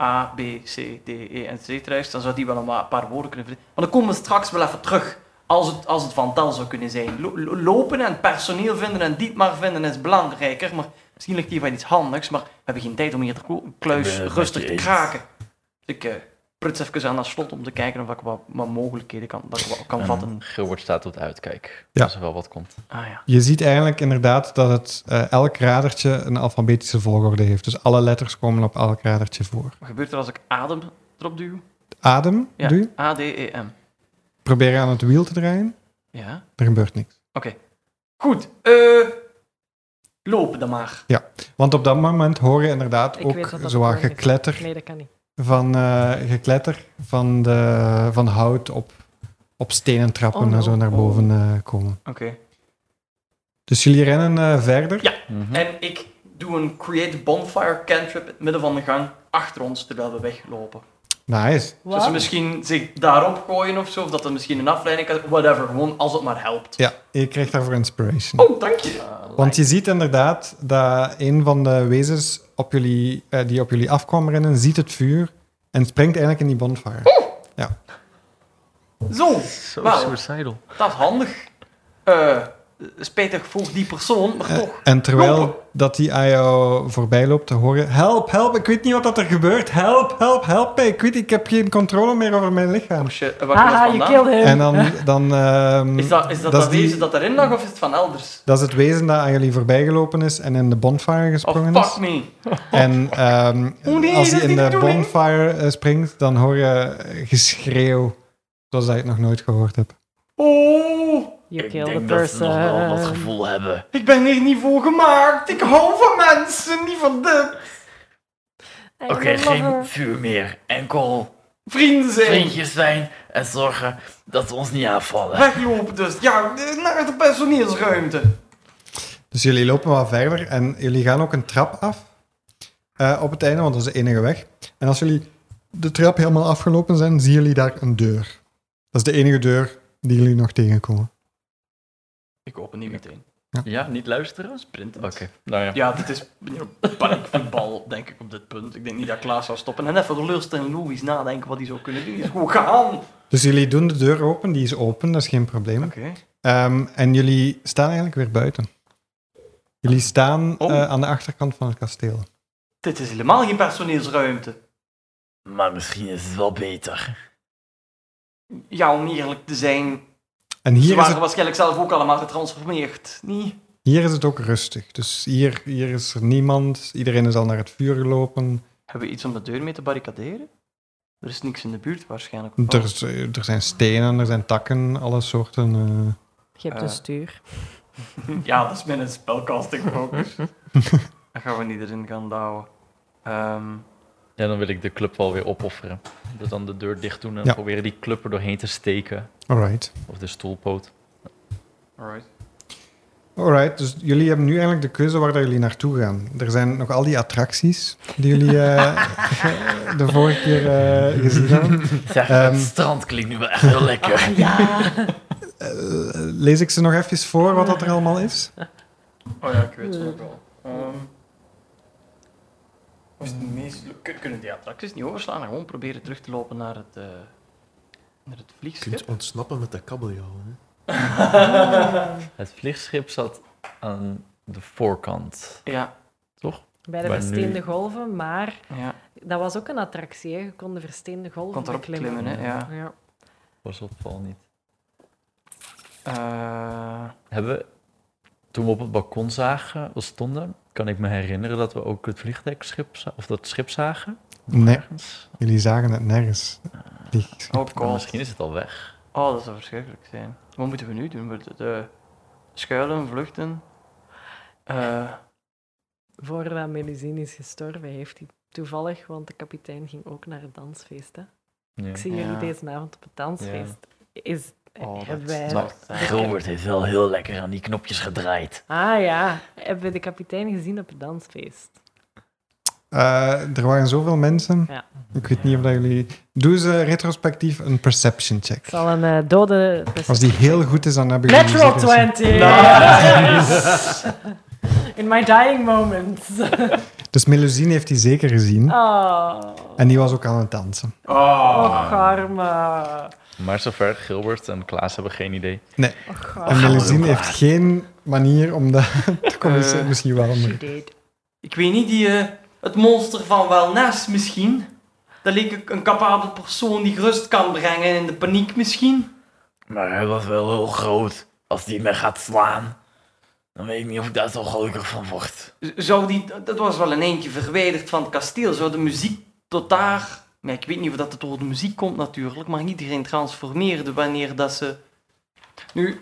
S2: A, B, C, D, E en C is, dan zou die wel een wa- paar woorden kunnen verzinnen. Maar dan komen we straks wel even terug, als het, als het van tel zou kunnen zijn. Lo- lo- lopen en personeel vinden en Dietmar vinden is belangrijker, maar misschien ligt hier wel iets handigs, maar we hebben geen tijd om hier de klo- kluis
S4: Ik ben het
S2: rustig
S4: met je
S2: te
S4: eens.
S2: kraken. Dus ik... eh, pruts even aan dat slot om te kijken of ik wat, wat mogelijkheden kan, dat ik wat kan vatten.
S4: Gilbert staat op het uitkijk.
S1: Ja.
S4: Als er wel wat komt.
S2: Ah ja.
S1: Je ziet eigenlijk inderdaad dat het, eh, elk radertje een alfabetische volgorde heeft. Dus alle letters komen op elk radertje voor.
S2: Wat gebeurt er als ik adem erop duw?
S1: Adem,
S2: Ja.
S1: doe je.
S2: A, D, E, M.
S1: Probeer aan het wiel te draaien.
S2: Ja.
S1: Er gebeurt niks.
S2: Oké. Goed. Eh lopen dan maar.
S1: Want op dat moment hoor je inderdaad
S3: Ik weet
S1: ook
S3: wat dat
S1: zo'n
S3: voor is.
S1: gekletter
S3: Nee, dat kan niet.
S1: van, eh, gekletter van, de, van hout op, op stenen trappen
S3: Oh, no.
S1: en zo naar boven eh, komen.
S2: Oké.
S1: Dus jullie rennen eh, verder.
S2: Ja. Hm? En ik doe een create bonfire cantrip in het midden van de gang achter ons terwijl we weglopen.
S1: Nice.
S2: Zodat ze misschien zich daarop gooien of zo, of dat er misschien een afleiding kan Whatever, gewoon als het maar helpt.
S1: Ja, je krijgt daarvoor inspiration.
S2: Oh, dank je.
S1: Want je ziet inderdaad dat een van de wezens op jullie, eh, die op jullie afkwam rennen, ziet het vuur en springt eigenlijk in die bonfire.
S3: Oh.
S2: Zo,
S4: Zo
S2: Wauw.
S4: suicidal.
S2: dat is handig. Eh spijtig voor die persoon, maar
S1: Eh,
S2: toch.
S1: en
S2: Lopen.
S3: Oh.
S1: terwijl dat die aan jou voorbij loopt, te horen: Help, help, ik weet niet wat dat er gebeurt. Help, help, help mij. Ik weet, ik heb geen controle meer over mijn lichaam.
S2: Oh shit, eh, waar komt dat
S3: Haha, je
S2: vandaan?
S3: killed him.
S1: En eh, dan. dan ehm,
S2: Is dat, is
S1: dat
S2: dat, dat
S1: is die-
S2: wezen dat erin lag of is het van elders?
S1: dat is het wezen dat aan jullie voorbijgelopen is en in de bonfire
S2: Of
S1: gesprongen is.
S2: Oh, fuck me.
S1: En ehm,
S2: Oh nee,
S1: als hij
S2: dat is
S1: in
S2: niet de
S1: de
S2: bedoeling.
S1: bonfire eh, springt, dan hoor je eh, geschreeuw. Zoals dat ik nog nooit gehoord heb.
S2: Oh,
S3: You
S4: ik
S3: killed
S4: denk
S3: the
S4: dat ze nog wel wat
S3: person.
S4: gevoel hebben.
S2: ik ben hier niet voor gemaakt. Ik hou van mensen, niet van de
S3: I'm
S4: Oké,
S3: a
S4: geen
S3: lover.
S4: vuur meer. Enkel
S2: vrienden zijn.
S4: vriendjes zijn en zorgen dat ze ons niet aanvallen.
S2: Weglopen dus. Ja, eh, naar de personeelsruimte.
S1: Dus jullie lopen wel verder en jullie gaan ook een trap af eh, op het einde, want dat is de enige weg. En als jullie de trap helemaal afgelopen zijn, zien jullie daar een deur. Dat is de enige deur die jullie nog tegenkomen.
S2: Ik open niet meteen.
S4: Ja, niet luisteren?
S2: Sprint.
S4: Oké, nou ja.
S2: Ja, dit is paniekvoetbal, denk ik, op dit punt. Ik denk niet dat Klaas zou stoppen. En even gerust en logisch nadenken wat hij zou kunnen doen. Die is gewoon gaan. Oké.
S1: Dus jullie doen de deur open, die is open, dat is geen probleem. Ehm, en jullie staan eigenlijk weer buiten. Jullie staan
S2: Oh.
S1: eh, aan de achterkant van het kasteel.
S2: Dit is helemaal geen personeelsruimte.
S4: Maar misschien is het wel beter.
S2: Ja, om eerlijk te zijn,
S1: En
S2: Ze
S1: hier is
S2: waren
S1: het
S2: waarschijnlijk zelf ook allemaal getransformeerd, niet?
S1: Hier is het ook rustig. Dus hier, hier is er niemand. Iedereen is al naar het vuur gelopen.
S2: Hebben we iets om de deur mee te barricaderen? Er is niks in de buurt waarschijnlijk. of
S1: Er,
S2: wat?
S1: is- er zijn stenen, er zijn takken, alle soorten. eh.
S3: Je hebt
S2: Eh.
S3: een stuur.
S2: Ja, dat is met een spelcasting focus. Dan gaan we niet erin gaan douwen. Ehm,
S4: Ja, dan wil ik de club wel weer opofferen. Dus dan de deur dicht doen en
S1: Ja.
S4: proberen die club er doorheen te steken.
S1: Alright.
S4: Of de stoelpoot.
S2: alright.
S1: Alright, dus jullie hebben nu eigenlijk de keuze waar dat jullie naartoe gaan. Er zijn nog al die attracties die jullie eh, de vorige keer eh, gezien hebben.
S4: Zeg,
S1: Ehm.
S4: het strand klinkt nu wel echt heel lekker.
S3: Ja.
S1: Eh, lees ik ze nog even voor wat dat er allemaal is?
S2: Oh ja, ik weet het
S3: Hmm.
S2: ook wel. Ehm is het meest... kun- Kunnen die attracties niet overslaan en gewoon proberen terug te lopen naar het, eh, naar het
S5: Je kunt
S2: vliegschip?
S5: ontsnappen met de kabeljauw. Hè?
S4: Het vliegschip zat aan de voorkant.
S2: Ja,
S3: Bij de
S4: Maar
S3: versteende
S4: nu-
S3: golven, maar
S2: ja.
S3: dat was ook een attractie. Hè. Je kon de versteende golven
S2: Kon erop
S3: beklimmen.
S2: klimmen, hè? Ja.
S3: Ja.
S4: Was opval niet.
S2: Eh,
S4: Hebben we, toen we op het balkon zagen, of stonden, kan ik me herinneren dat we ook het vliegdekschip, za- of dat schip zagen.
S1: Nee,
S4: Ergens.
S1: jullie zagen het nergens. Die-
S2: oh
S4: Maar
S2: god.
S4: Misschien is het al weg.
S2: Oh, dat zou verschrikkelijk zijn. Wat moeten we nu doen? We de schuilen, vluchten? Eh,
S3: Voordat Melusine is gestorven, heeft hij toevallig, want de kapitein ging ook naar het dansfeest. Hè.
S4: Ja.
S3: Ik zie
S2: Ja.
S3: jullie deze avond op het dansfeest. Is,
S2: oh, dat
S3: hebben wij-
S2: dat-
S4: Gilbert heeft wel heel lekker aan die knopjes gedraaid.
S3: Ah ja, hebben we de kapitein gezien op het dansfeest?
S1: Eh, er waren zoveel mensen.
S3: Ja.
S1: Ik weet niet of dat jullie... Doe ze retrospectief een perception check.
S3: Het zal een eh, dode...
S1: Als die heel goed is, dan hebben jullie...
S3: Natural
S1: zeker een-
S3: 20! In my dying moments.
S1: Dus Melusine heeft die zeker gezien.
S3: Oh,
S1: En die was ook aan het dansen.
S3: och arme.
S4: Maar zover, Gilbert en Klaas hebben geen idee.
S3: Och
S1: En
S3: arme.
S1: Melusine heeft geen manier om dat te communiceren.
S2: Eh.
S1: Misschien wel, maar...
S3: She did.
S2: Ik weet niet, die, eh, het monster van Wellness misschien. Dat leek ik een capabele persoon die rust kan brengen in de paniek misschien.
S4: Maar hij was wel heel groot. Als die me gaat slaan, dan weet ik niet of ik daar zo gelukkig van word.
S2: Z- Zou die, dat- dat was wel een eentje verwijderd van het kasteel. Zou de muziek tot daar... Maar ik weet niet of dat het door de muziek komt natuurlijk, maar iedereen transformeerde wanneer dat ze... Nu,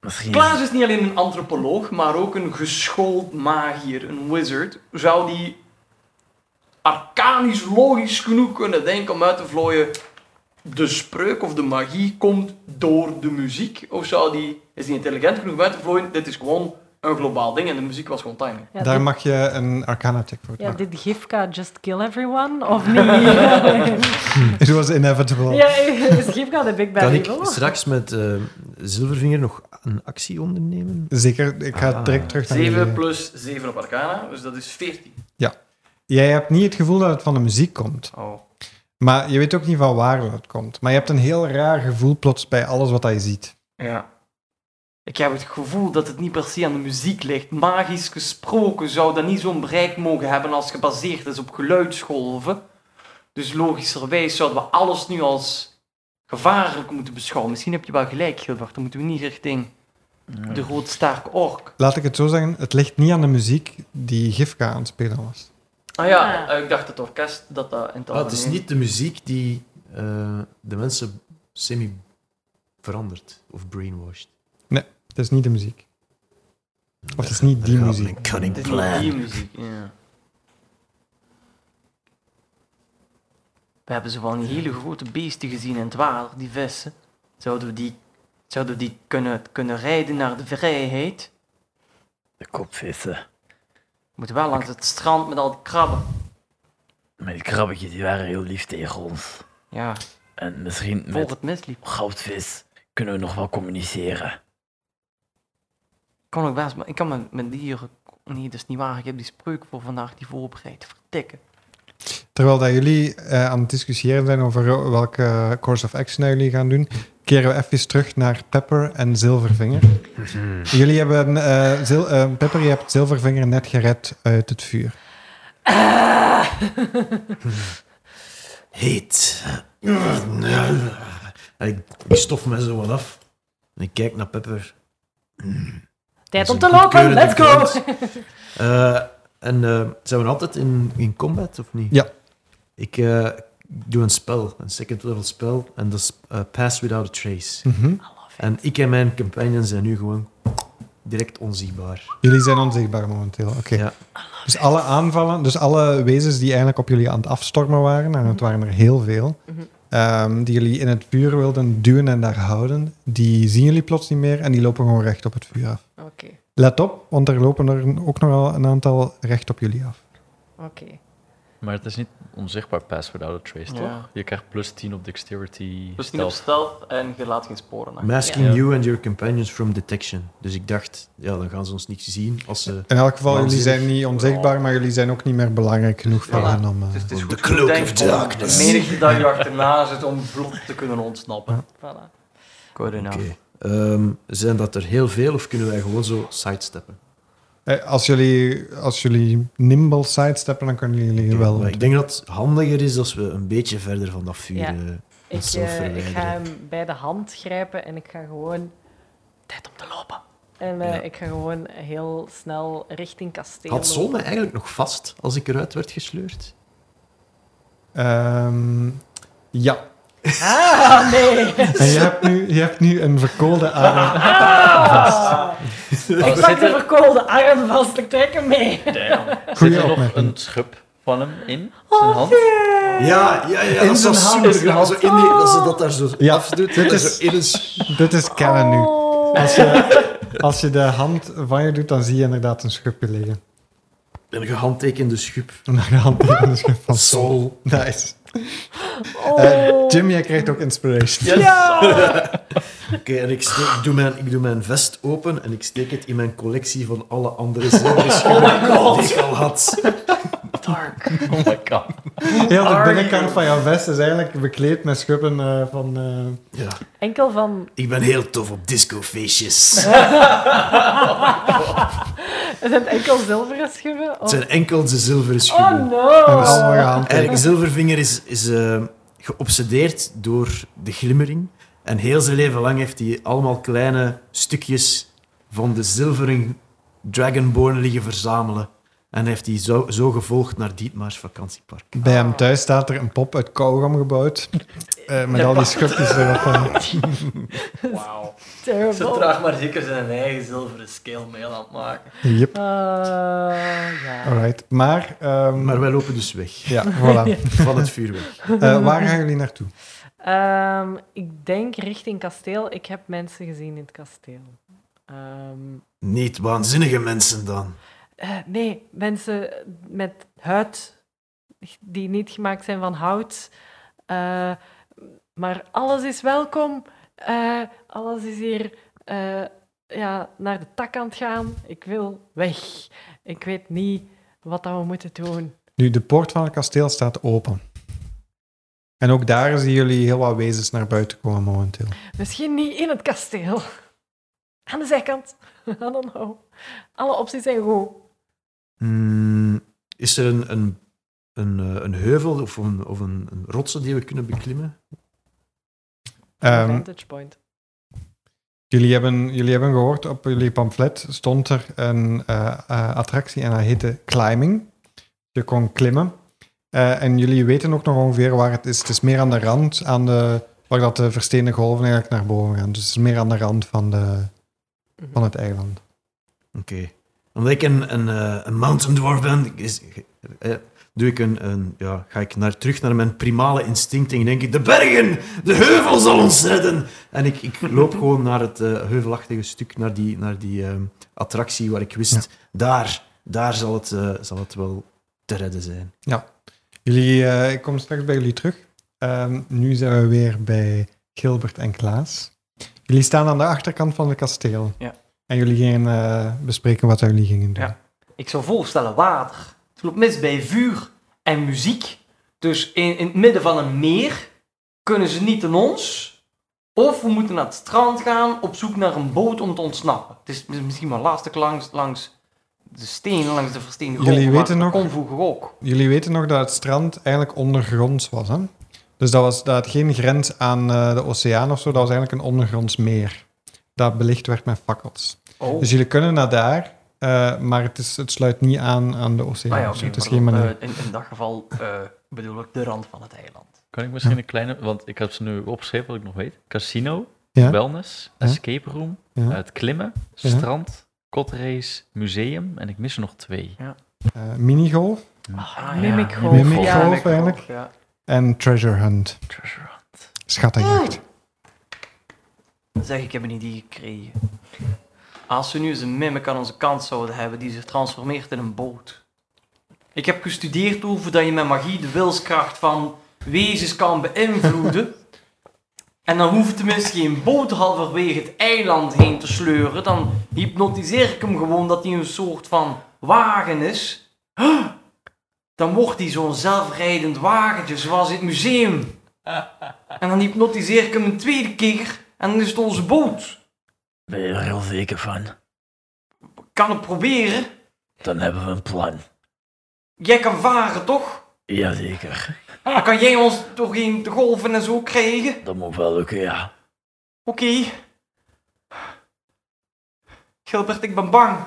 S4: Misschien
S2: Klaas is niet alleen een antropoloog, maar ook een geschoold magier, een wizard. Zou die arcanisch logisch genoeg kunnen denken om uit te vlooien... De spreuk of de magie komt door de muziek? Of zou die, is die intelligent genoeg om uit te vlooien? Dit is gewoon een globaal ding en de muziek was gewoon timing.
S3: Ja,
S1: Daar
S3: dit,
S1: mag je een arcana check voor
S3: ja,
S1: doen.
S3: dit Gifka just kill everyone, of niet?
S1: It was inevitable.
S3: ja, is Gifka de big bad
S5: Kan ik
S3: evil?
S5: straks met eh, Zilvervinger nog een actie ondernemen?
S1: Zeker, ik ga
S5: Ah.
S1: direct terug naar jullie.
S2: 7 plus 7 op arcana, dus dat is 14.
S1: Jij hebt niet het gevoel dat het van de muziek komt.
S2: Oh.
S1: Maar je weet ook niet van waar het komt. Maar je hebt een heel raar gevoel plots bij alles wat dat je ziet.
S2: Ja. Ik heb het gevoel dat het niet per se aan de muziek ligt. Magisch gesproken zou dat niet zo'n bereik mogen hebben als gebaseerd is op geluidsgolven. Dus logischerwijs zouden we alles nu als gevaarlijk moeten beschouwen. Misschien heb je wel gelijk, Gilbert. Dan moeten we niet richting de roodstaark ork.
S1: Laat ik het zo zeggen, het ligt niet aan de muziek die Gifka aan het spelen was.
S2: Ah
S3: ja,
S2: ja,
S3: eh,
S2: ik dacht het orkest dat dat in het
S5: Ah, het is niet de muziek die eh, de mensen semi verandert of brainwashed.
S1: Het is niet de muziek. Of het is niet die
S5: Daar gaat
S1: muziek.
S5: mijn cunning
S2: Het is
S5: plan.
S2: niet die muziek, ja. We hebben zo van die hele grote beesten gezien in het water, die vissen. Zouden we die, zouden we die kunnen, kunnen rijden naar de vrijheid?
S4: de kopvissen.
S2: We moeten wel langs het strand met al die krabben.
S4: Maar die krabbetjes die waren heel lief tegen ons.
S2: Ja,
S4: En misschien
S2: voor
S4: met
S2: het misliep.
S4: goudvis kunnen we nog wel communiceren.
S2: Kon ik best, maar ik kan met, met dieren... Nee, dat is niet waar. Ik heb die spreuk voor vandaag die voorbereid. Vertikken.
S1: Terwijl dat jullie eh, aan het discussiëren zijn over eh, welke course of action dat jullie gaan doen, keren we even terug naar Pepper en Zilvervinger. Jullie hebben, eh, zil- eh, Pepper, je hebt Zilvervinger net gered uit het vuur.
S3: Ah.
S5: Heet. En ik, ik stof me zo wat af. En ik kijk naar Pepper. Mm.
S3: Tijd
S5: Dat
S3: om
S5: is
S3: te
S5: een
S3: lopen,
S5: goedkeurende
S3: let's go!
S5: Eh, en eh, zijn we altijd in, in combat, of niet?
S1: Ja.
S5: Ik eh, doe een spel, een second level spel, en dat is eh, Pass Without a Trace.
S1: Mhm.
S5: En ik en mijn companions zijn nu gewoon direct onzichtbaar.
S1: Jullie zijn onzichtbaar momenteel. Oké.
S5: Ja.
S1: Dus alle aanvallen, dus alle wezens die eigenlijk op jullie aan het afstormen waren, en het waren er heel veel,
S3: Mhm.
S1: ehm, die jullie in het vuur wilden duwen en daar houden, die zien jullie plots niet meer en die lopen gewoon recht op het vuur af.
S3: Oké,
S1: Let op, want er lopen er ook nogal een aantal recht op jullie af.
S3: oké.
S4: Maar het is niet onzichtbaar pass without a trace,
S2: Ja.
S4: toch? Je krijgt plus 10 op dexterity.
S2: Dus niet op
S4: stealth.
S2: stealth en je laat geen sporen na.
S5: Masking
S4: Ja.
S5: you and your companions from detection. Dus ik dacht, ja, dan gaan ze ons niks zien als ze...
S1: In elk geval, jullie
S5: Waanzinnig.
S1: zijn niet onzichtbaar, maar jullie zijn ook niet meer belangrijk genoeg voor
S2: Voilà.
S1: hen om... eh,
S2: Dus het is
S5: The
S2: goed
S5: cloak
S2: gedenkt
S5: of
S2: om
S5: darkness.
S2: De menigte dat je achterna zit om vlot te kunnen ontsnappen.
S3: Voilà.
S2: Goed
S5: Oké.
S2: enough.
S5: Ehm, zijn dat er heel veel of kunnen wij gewoon zo sidesteppen?
S1: eh, als, jullie, als jullie nimble sidesteppen, dan kunnen jullie wel...
S5: Maar ik denk dat het handiger is als we een beetje verder van dat vuur...
S3: Ja.
S5: eh,
S3: Ik,
S5: is zelf
S3: eh, ik ga
S5: verwijderen.
S3: hem bij de hand grijpen en ik ga gewoon... Tijd om te lopen. En eh,
S5: Ja.
S3: ik ga gewoon heel snel richting kasteel
S5: Had Sol
S3: lopen.
S5: mij eigenlijk nog vast als ik eruit werd gesleurd?
S1: Ehm, ja,
S3: Ah, nee!
S1: En je hebt nu, je hebt nu een verkoolde arm.
S3: Ah! Ik pak de
S4: Zitten-
S3: verkoolde arm vast, ik trek hem mee.
S1: Goeie
S4: Zit er nog
S1: opmerking.
S4: een schub van hem in?
S3: Oh.
S4: Zijn hand?
S5: Ja, ja, ja.
S1: In
S5: dat
S1: zijn
S5: was
S1: hand.
S5: super graag. Zo in die, dat ze dat daar zo
S1: Ja,
S5: afdoet.
S1: dit
S5: dat
S1: is-
S5: zo in een s-
S1: Dit is kennen nu.
S3: Oh.
S1: Als je, als je de hand van je doet, dan zie je inderdaad een schubje liggen.
S5: een gehandtekende schub.
S1: Naar de hand tegen de schub van Sol.
S5: Sol.
S1: Nice.
S3: Oh.
S1: Eh, Jim, jij krijgt ook inspiration.
S3: Ja!
S5: Oké, en ik, steek- ik doe mijn, ik doe mijn vest open en ik steek het in mijn collectie van alle andere zilveren schubben die ik al had.
S2: Dark.
S4: Oh my god.
S1: Heel de
S2: Are
S1: binnenkant
S2: you?
S1: van jouw vest is eigenlijk bekleed met schubben eh, van... eh,
S5: Ja,
S3: Enkel van...
S5: ik ben heel tof op discofeestjes.
S3: Is het enkel zilveren schubben?
S5: Het
S3: Of...
S5: zijn enkel de zilveren schubben.
S3: Oh
S1: en allemaal
S3: no!
S5: Eigenlijk,
S1: gehandtekend.
S5: Zilvervinger is, is eh, geobsedeerd door de glimmering. En heel zijn leven lang heeft hij allemaal kleine stukjes van de zilveren Dragonborn liggen verzamelen. En heeft hij zo, zo gevolgd naar Dietmaars vakantiepark.
S1: Bij hem thuis staat er een pop uit kauwgom gebouwd. eh, met al die schubjes erop. eh.
S2: Wauw. Ze
S3: Terrible.
S2: traag maar zeker zijn eigen zilveren scale mail aan het maken.
S1: Yep,
S3: Ah, ja.
S1: alright. Maar... ehm,
S5: Maar wij lopen dus weg
S1: Ja, voilà.
S5: van het vuurwerk.
S1: Eh, waar gaan jullie naartoe?
S3: Ehm, ik denk richting kasteel. Ik heb mensen gezien in het kasteel. Ehm,
S5: Niet waanzinnige mensen dan.
S3: eh, nee, mensen met huid die niet gemaakt zijn van hout. Eh, maar alles is welkom. Eh, alles is hier eh, ja, naar de tak aan het gaan. Ik wil weg. Ik weet niet wat dat we moeten doen.
S1: Nu, de poort van het kasteel staat open. En ook daar zien jullie heel wat wezens naar buiten komen momenteel.
S3: Misschien niet in het kasteel. Aan de zijkant. I don't know. Alle opties zijn goed.
S5: Hmm, is er een, een, een, eh, een heuvel of, een, of een, een rotsen die we kunnen beklimmen?
S1: Ehm,
S3: vantage point.
S1: jullie, hebben, jullie hebben gehoord, op jullie pamflet stond er een eh, eh, attractie en dat heette Climbing. Je kon klimmen. Eh, en jullie weten ook nog ongeveer waar het is. Het is meer aan de rand, aan de, waar dat de versteende golven eigenlijk naar boven gaan. Dus het is meer aan de rand van, de, van het eiland.
S5: Oké. Omdat ik een, een, eh, een mountain dwarf ben, is, eh, doe ik een, een, ja, ga ik naar, terug naar mijn primale instinct en denk ik, de bergen, de heuvel zal ons redden. En ik, ik loop gewoon naar het eh, heuvelachtige stuk, naar die, naar die ehm, attractie waar ik wist, daar, daar zal het, eh, zal het wel te redden zijn.
S1: Jullie, eh, ik kom straks bij jullie terug. Ehm, nu zijn we weer bij Gilbert en Klaas. Jullie staan aan de achterkant van het kasteel.
S2: Ja.
S1: En jullie gingen eh, bespreken wat jullie gingen doen.
S2: Ja. Ik zou voorstellen water. Het loopt mis bij vuur en muziek. Dus in, in het midden van een meer kunnen ze niet in ons. Of we moeten naar het strand gaan op zoek naar een boot om te ontsnappen. Het is misschien maar lastig langs, langs de stenen, langs de versteende
S1: Jullie
S2: golven. maar
S1: weten nog-
S2: dat kon vroeger ook.
S1: Jullie weten nog dat het strand eigenlijk ondergronds was. Hè? Dus dat, was, dat had geen grens aan eh, de oceaan of zo. Dat was eigenlijk een ondergronds meer. Dat belicht werd met fakkels.
S2: Oh.
S1: Dus jullie kunnen naar daar, eh, maar het, is, het sluit niet aan aan de oceaan.
S2: Ah ja,
S1: of zo.
S2: oké,
S1: het is
S2: maar
S1: geen
S2: dan,
S1: manier.
S2: eh, in, in dat geval eh, bedoel ik de rand van het eiland.
S6: Kan ik misschien een kleine, want ik heb ze nu opgeschreven wat ik nog weet. Casino,
S1: Ja.
S6: wellness,
S1: Ja.
S6: escape room, eh,
S1: Ja.
S6: het klimmen,
S1: Ja.
S6: strand, kotrace, museum en ik mis er nog twee.
S1: Eh, minigolf
S2: Ah,
S3: Mimic
S6: ja.
S3: golf.
S1: Mimic
S3: ja.
S1: golf.
S2: mimic golf,
S1: eigenlijk.
S2: Ja.
S1: en treasure hunt.
S6: Treasure hunt.
S1: Schattenjacht.
S2: Zeg, ik heb er niet die gekregen. Als we nu eens een mimic aan onze kant zouden hebben die zich transformeert in een boot. Ik heb gestudeerd over dat je met magie de wilskracht van wezens kan beïnvloeden. en dan hoef je tenminste geen boot halverwege het eiland heen te sleuren. Dan hypnotiseer ik hem gewoon dat hij een soort van wagen is. Huh! Dan wordt hij zo'n zelfrijdend wagentje zoals in het museum. En dan hypnotiseer ik hem een tweede keer en dan is het onze boot.
S4: Ben je er heel zeker van?
S2: Kan het proberen.
S4: Dan hebben we een plan.
S2: Jij kan varen, toch?
S4: Jazeker.
S2: Dan kan jij ons toch geen golven en zo krijgen?
S4: Dat moet wel lukken, ja.
S2: Oké. Gilbert, ik ben bang.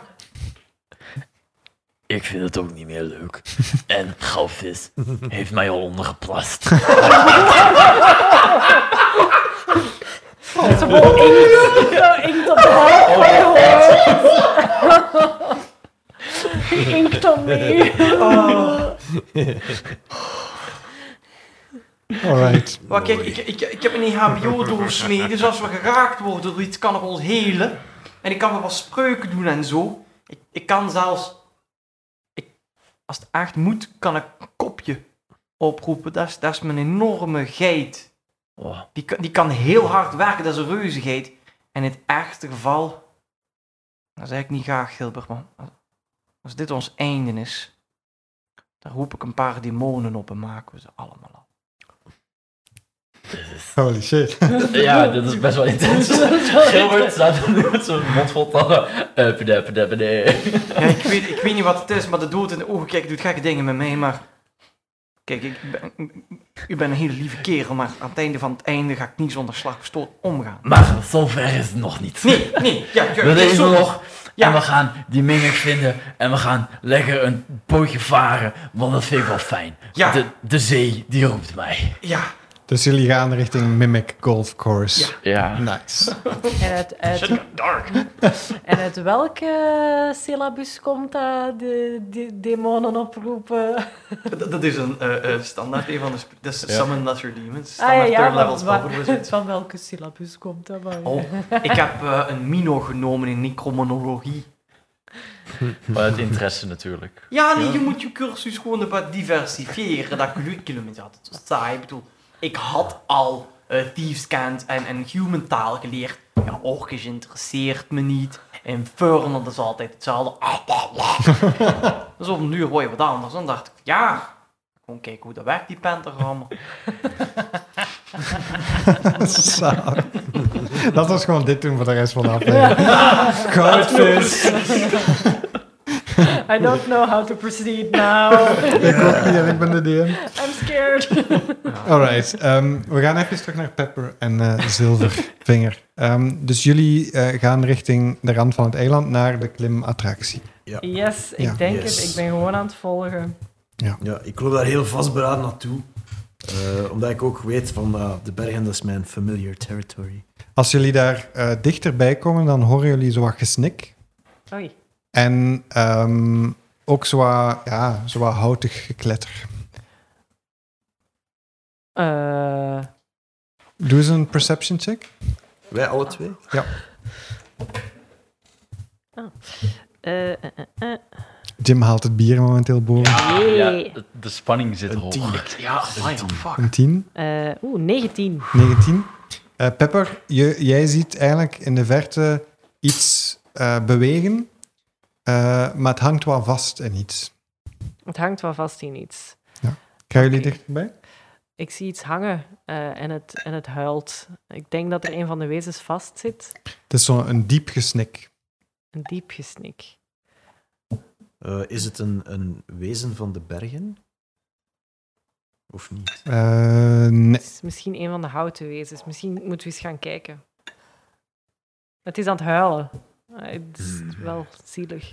S4: Ik vind het ook niet meer leuk. En goudvis heeft mij al ondergeplast.
S3: Inkt op de hand van je hoofd. Inkt op mee.
S2: Ah.
S1: Alright.
S2: Maar kijk, ik, ik, ik heb een EHBO-doos mee, dus als we geraakt worden door iets, kan ik ons helen. En ik kan wel wat spreuken doen en zo. Ik, ik kan zelfs... Ik, als het echt moet, kan ik een kopje oproepen. Dat is, dat is mijn enorme geit.
S4: Oh.
S2: Die, kan- die kan heel hard werken, dat is een reuzigheid. En in het ergste geval... Dat zeg ik niet graag, Gilbert, maar... Als dit ons einde is... Dan roep ik een paar demonen op en maken we ze allemaal af.
S1: Holy shit.
S4: Ja, dit is best wel intens. Gilbert staat nu met zijn mond vol tanden. Eh, pede, pede, pede.
S2: Ja, ik weet, ik weet niet wat het is, maar de dood in de ogen kijken doet gekke dingen met mij, maar... Kijk, ik ben, u bent een hele lieve kerel, maar aan het einde van het einde ga ik niet zonder slag of stoot omgaan.
S4: Maar zover is het nog niet.
S2: Nee, nee, ja, ja,
S4: We
S2: ja,
S4: leven
S2: zo-
S4: nog.
S2: Ja.
S4: En we gaan die mimic vinden. En we gaan lekker een pootje varen. Want dat vind ik wel fijn.
S2: Ja.
S4: De, de zee, die roept mij.
S2: Ja,
S1: Dus jullie gaan richting Mimic Golf Course.
S6: Ja.
S1: Nice.
S3: En uit, uit, en uit welke syllabus komt dat? De, de demonen oproepen.
S2: dat, dat is een eh, eh, standaard, een van de... sp- Dat is Summon Lesser Demons,
S3: Ah ja, ja,
S2: standaard third
S3: maar
S2: level
S3: wa-
S2: spell wizard.
S3: van welke syllabus komt dat? Maar?
S2: Oh, ik heb eh, een Mino genomen in necromonologie.
S6: Vanuit Oh, interesse natuurlijk.
S2: Ja, nee, je moet je cursus gewoon wat diversifieren. Dat curriculum is altijd zo saai. Ik bedoel, ik had al eh Thiefskant en, en human taal geleerd. Ja, orkjes interesseert me niet. Infernal, dat is altijd hetzelfde. dus op een duur hoor je wat anders. Dan dacht ik, ja, gewoon kijken hoe dat werkt, die pentagrammen.
S1: Zalig. Dat was gewoon dit doen voor de rest van de aflevering. Goudvis.
S3: I don't know how to proceed now.
S1: Ik ook niet en ik ben de DM.
S3: I'm scared.
S1: Alright, ehm, we gaan even terug naar Pepper en eh, Zilvervinger. Ehm, dus jullie eh, gaan richting de rand van het eiland naar de klimattractie.
S3: Yes, ik
S1: Ja.
S3: denk
S5: Yes.
S3: het. Ik ben gewoon aan het volgen.
S5: Ja, ik loop daar heel vastberaden naartoe. Eh, omdat ik ook weet van ah, de bergen, dat is mijn familiar territory.
S1: Als jullie daar eh, dichterbij komen, dan horen jullie zo wat gesnik.
S3: Oei.
S1: En ehm, ook zo wat, ja, zo wat houtig gekletter.
S3: Eh,
S1: Doe eens een perception check.
S5: Wij alle twee?
S3: eh, eh, eh, eh.
S1: Jim haalt het bier momenteel boven.
S4: Ah,
S6: Ja,
S3: Jee.
S6: de, de spanning zit hoog.
S2: Ja,
S4: Dus
S2: amai, oh, fuck.
S1: Een 10.
S3: Eh, Oeh, 19.
S1: 19. Eh, Pepper, je, jij ziet eigenlijk in de verte iets eh, bewegen, eh, maar het hangt wel vast in iets.
S3: Het hangt wel vast in iets.
S1: Gaan jullie
S3: Oké.
S1: dichterbij?
S3: Ik zie iets hangen eh, en, het, en het huilt. Ik denk dat er een van de wezens vastzit.
S1: Het is zo'n een diep gesnik.
S3: Een diep gesnik.
S5: Eh, is het een, een wezen van de bergen? Of niet?
S1: Eh, nee.
S3: Het is misschien een van de houten wezens. Misschien moeten we eens gaan kijken. Het is aan het huilen. Eh, Het is wel zielig.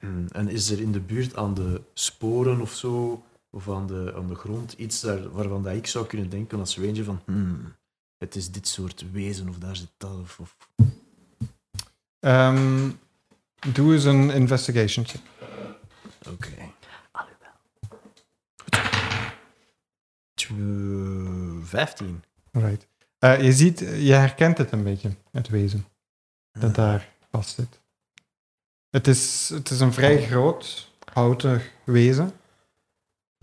S5: Mm, En is er in de buurt aan de sporen of zo, of aan de, aan de grond, iets daar, waarvan dat ik zou kunnen denken als ranger van hmm, het is dit soort wezen of daar zit dat of... of.
S1: Ehm, doe eens een investigation check.
S5: Oké.
S3: Alhoewel.
S5: Tw- 15.
S1: Right. Eh, je ziet, eh, je herkent het een beetje, het wezen dat daar vast zit. Het is, het is een vrij groot, houten wezen.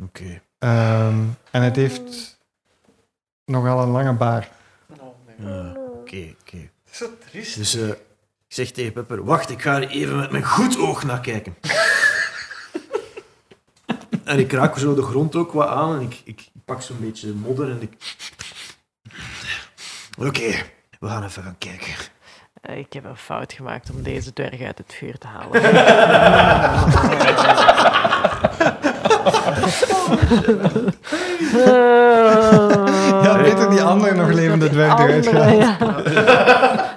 S5: Oké.
S1: Ehm, en het heeft nogal een lange baard.
S5: Ah, Oké, oké.
S2: Zo triest.
S5: Dus eh, ik zeg tegen Pepper, wacht, ik ga er even met mijn goed oog naar kijken. en ik raak zo de grond ook wat aan en ik, ik pak zo'n beetje modder en ik... Oké, we gaan even gaan kijken.
S3: Eh, Ik heb een fout gemaakt om deze dwerg uit het vuur te halen.
S1: Ja, beter die andere nog levende dwerg eruit
S3: Andere, ja.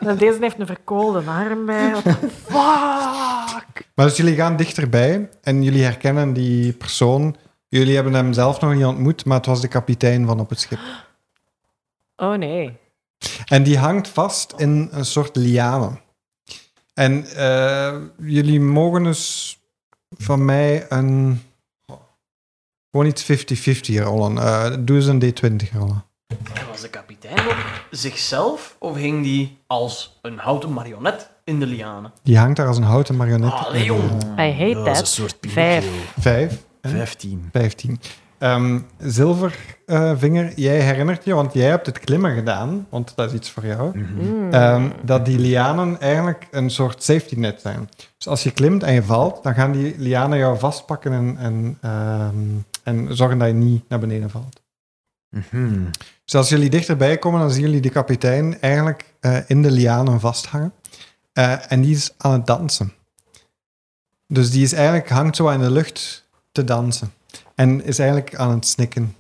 S3: Nou, Deze heeft een verkoolde arm bij. What the Fuck!
S1: Maar dus jullie gaan dichterbij en jullie herkennen die persoon. Jullie hebben hem zelf nog niet ontmoet, maar het was de kapitein van op het schip.
S3: Oh nee.
S1: En die hangt vast in een soort liane. En eh, jullie mogen dus van mij een... Gewoon iets 50-50 rollen. Eh, doe eens een D20 rollen.
S2: En was de kapitein op zichzelf of hing die als een houten marionet in de lianen?
S1: Die hangt daar als een houten marionet.
S2: Allee, jong.
S3: I hate
S5: dat is een
S3: that.
S5: soort
S3: Vijf.
S5: Pinocchio.
S1: Vijf.
S5: Vijftien.
S1: 15. Ehm Zilvervinger, jij herinnert je, want jij hebt het klimmen gedaan, want dat is iets voor jou,
S5: Mhm.
S3: Mm.
S1: ehm, dat die lianen eigenlijk een soort safety net zijn. Dus als je klimt en je valt, dan gaan die lianen jou vastpakken en, en, ehm, en zorgen dat je niet naar beneden valt.
S5: Mhm.
S1: Dus als jullie dichterbij komen, dan zien jullie de kapitein eigenlijk eh, in de lianen vasthangen. Eh, en die is aan het dansen. Dus die is eigenlijk, hangt zo in de lucht te dansen. En is eigenlijk aan het snikken.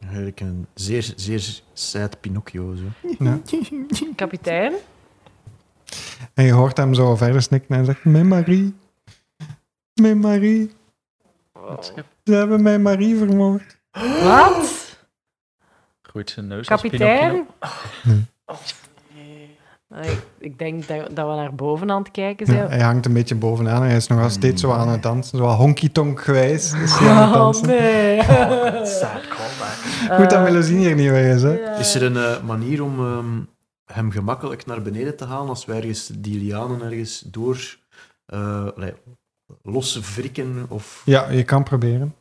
S5: Eigenlijk een zeer, zeer sad Pinocchio. Zo.
S3: Kapitein?
S1: En je hoort hem zo verder snikken en hij zegt: Mijn Marie. Mijn Marie. Ze hebben mijn Marie vermoord.
S3: Wat?
S6: Groeit zijn neus als Pinocchio.
S3: Kapitein?
S1: Nee.
S3: Eh, ik- Ik denk dat, dat we naar boven aan het kijken
S1: Ja,
S3: zijn.
S1: hij hangt een beetje bovenaan en hij is nog wel steeds zo aan het dansen. Zo honky-tonk gewijs is hij aan het
S3: Oh
S1: dansen.
S3: nee.
S2: Sad callback.
S1: Goed dat Melusine hier niet meer is, hè?
S5: Is er een eh, manier om ehm, hem gemakkelijk naar beneden te halen als wij ergens die lianen ergens door eh, allee, los wrikken? Of...
S1: Ja, je kan proberen.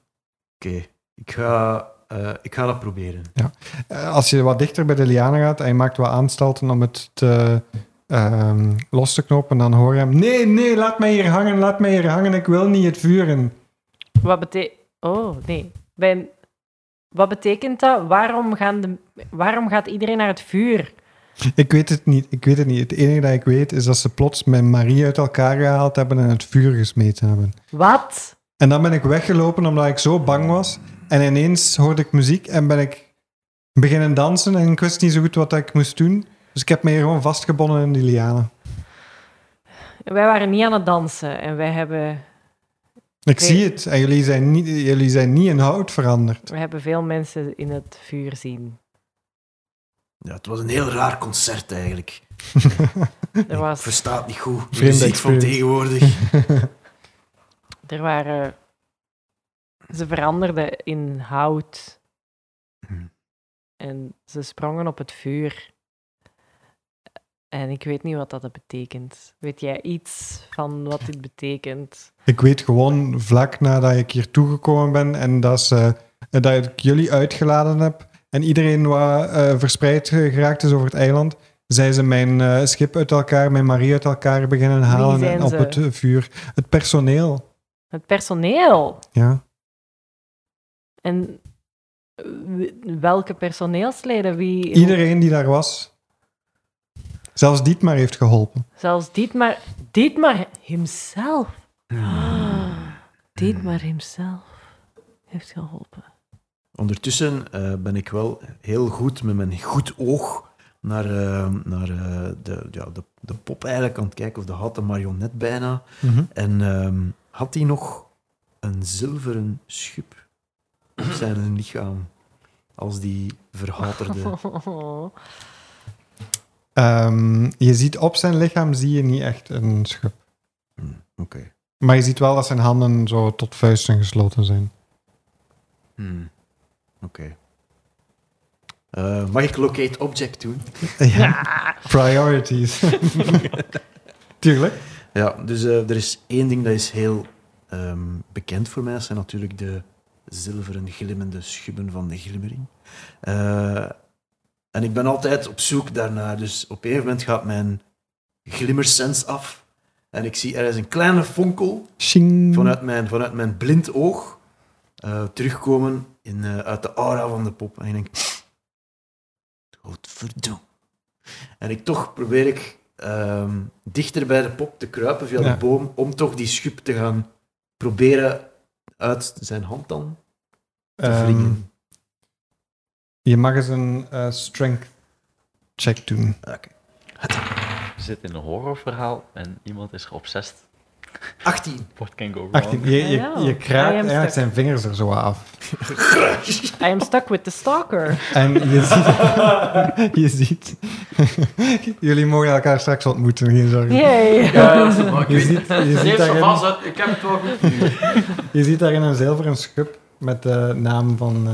S5: Oké, ik, ga, eh, ik ga dat proberen.
S1: Eh, Als je wat dichter bij de lianen gaat en je maakt wat aanstalten om het te, ehm, los te knopen, dan hoor je hem: Nee, nee, laat mij hier hangen, laat mij hier hangen, ik wil niet het vuur in.
S3: Wat betekent... Oh, nee. Bij- Wat betekent dat? Waarom, gaan de... Waarom gaat iedereen naar het vuur?
S1: Ik weet het niet. Ik weet het niet. Het enige dat ik weet is dat ze plots mijn Marie uit elkaar gehaald hebben en het vuur gesmeten hebben.
S3: Wat?
S1: En dan ben ik weggelopen omdat ik zo bang was. En ineens hoorde ik muziek en ben ik beginnen dansen en ik wist niet zo goed wat ik moest doen. Dus ik heb me hier gewoon vastgebonden in die lianen.
S3: Wij waren niet aan het dansen en wij hebben,
S1: Ik
S3: Oké.
S1: zie het. En jullie zijn niet, jullie zijn niet in hout veranderd.
S3: we hebben veel mensen in het vuur zien.
S5: Ja, het was een heel raar concert eigenlijk.
S3: Er,
S5: Ik
S3: was,
S5: versta het niet goed. De
S1: Vreemde
S5: muziek van
S1: experience.
S5: tegenwoordig.
S3: er waren... Ze veranderden in hout.
S5: Hm.
S3: En ze sprongen op het vuur. En ik weet niet wat dat betekent. Weet jij iets van wat dit betekent?
S1: Ik weet gewoon vlak nadat ik hier toegekomen ben en dat, ze, eh, dat ik jullie uitgeladen heb en iedereen wat eh, verspreid eh, geraakt is over het eiland, zijn ze mijn eh, schip uit elkaar, mijn Marie uit elkaar beginnen halen
S3: zijn
S1: en op
S3: ze?
S1: het eh, vuur. Het personeel,
S3: Het personeel.
S1: ja.
S3: En w- welke personeelsleden? Wie?
S1: Iedereen die daar was. Zelfs Dietmar heeft geholpen.
S3: Zelfs Dietmar. Dietmar himself. Ah, Dietmar himself heeft geholpen.
S5: Ondertussen eh, ben ik wel heel goed met mijn goed oog naar, eh, naar eh, de, ja, de, de pop eigenlijk aan het kijken, of de houten marionet bijna.
S1: Mhm.
S5: En ehm, had hij nog een zilveren schub op zijn lichaam? Als die verhaterde.
S3: Oh.
S1: Ehm, je ziet op zijn lichaam zie je niet echt een schub.
S5: Hmm, Oké.
S1: Maar je ziet wel dat zijn handen zo tot vuisten gesloten zijn.
S5: Hmm, Oké. Eh, mag ik locate object doen?
S1: Ja. Priorities. Tuurlijk.
S5: Ja, dus eh, er is één ding dat is heel ehm, bekend voor mij. Dat zijn natuurlijk de zilveren glimmende schubben van de glimmering. Eh, en ik ben altijd op zoek daarnaar. Dus op een gegeven moment gaat mijn glimmersens af. En ik zie ergens een kleine fonkel
S1: Shing.
S5: vanuit mijn, vanuit mijn blind oog eh, terugkomen in, eh, uit de aura van de pop. En ik denk, godverdomme. En ik toch probeer ik ehm, dichter bij de pop te kruipen via
S1: Ja.
S5: de boom, om toch die schub te gaan proberen uit zijn hand dan te
S1: Ehm,
S5: wringen.
S1: je mag eens een eh, strength check doen.
S5: Oké.
S6: We zitten in een horrorverhaal en iemand is geobsessed.
S5: 18.
S6: What can go wrong?
S1: 18. Je, je,
S3: Oh.
S1: je kraakt
S3: I am
S1: eigenlijk
S3: stuck.
S1: zijn vingers er zo af.
S3: I am stuck with the stalker.
S1: En je ziet... je ziet jullie mogen elkaar straks ontmoeten, geen zorgen.
S3: Yay.
S2: Ja, dat is het, maar ik
S1: Je
S2: weet
S1: ziet, je,
S2: Ze
S1: ziet
S2: heeft zo vast
S1: daarin,
S2: uit, ik heb het wel goed nu.
S1: je ziet daarin een zilveren schub met de naam van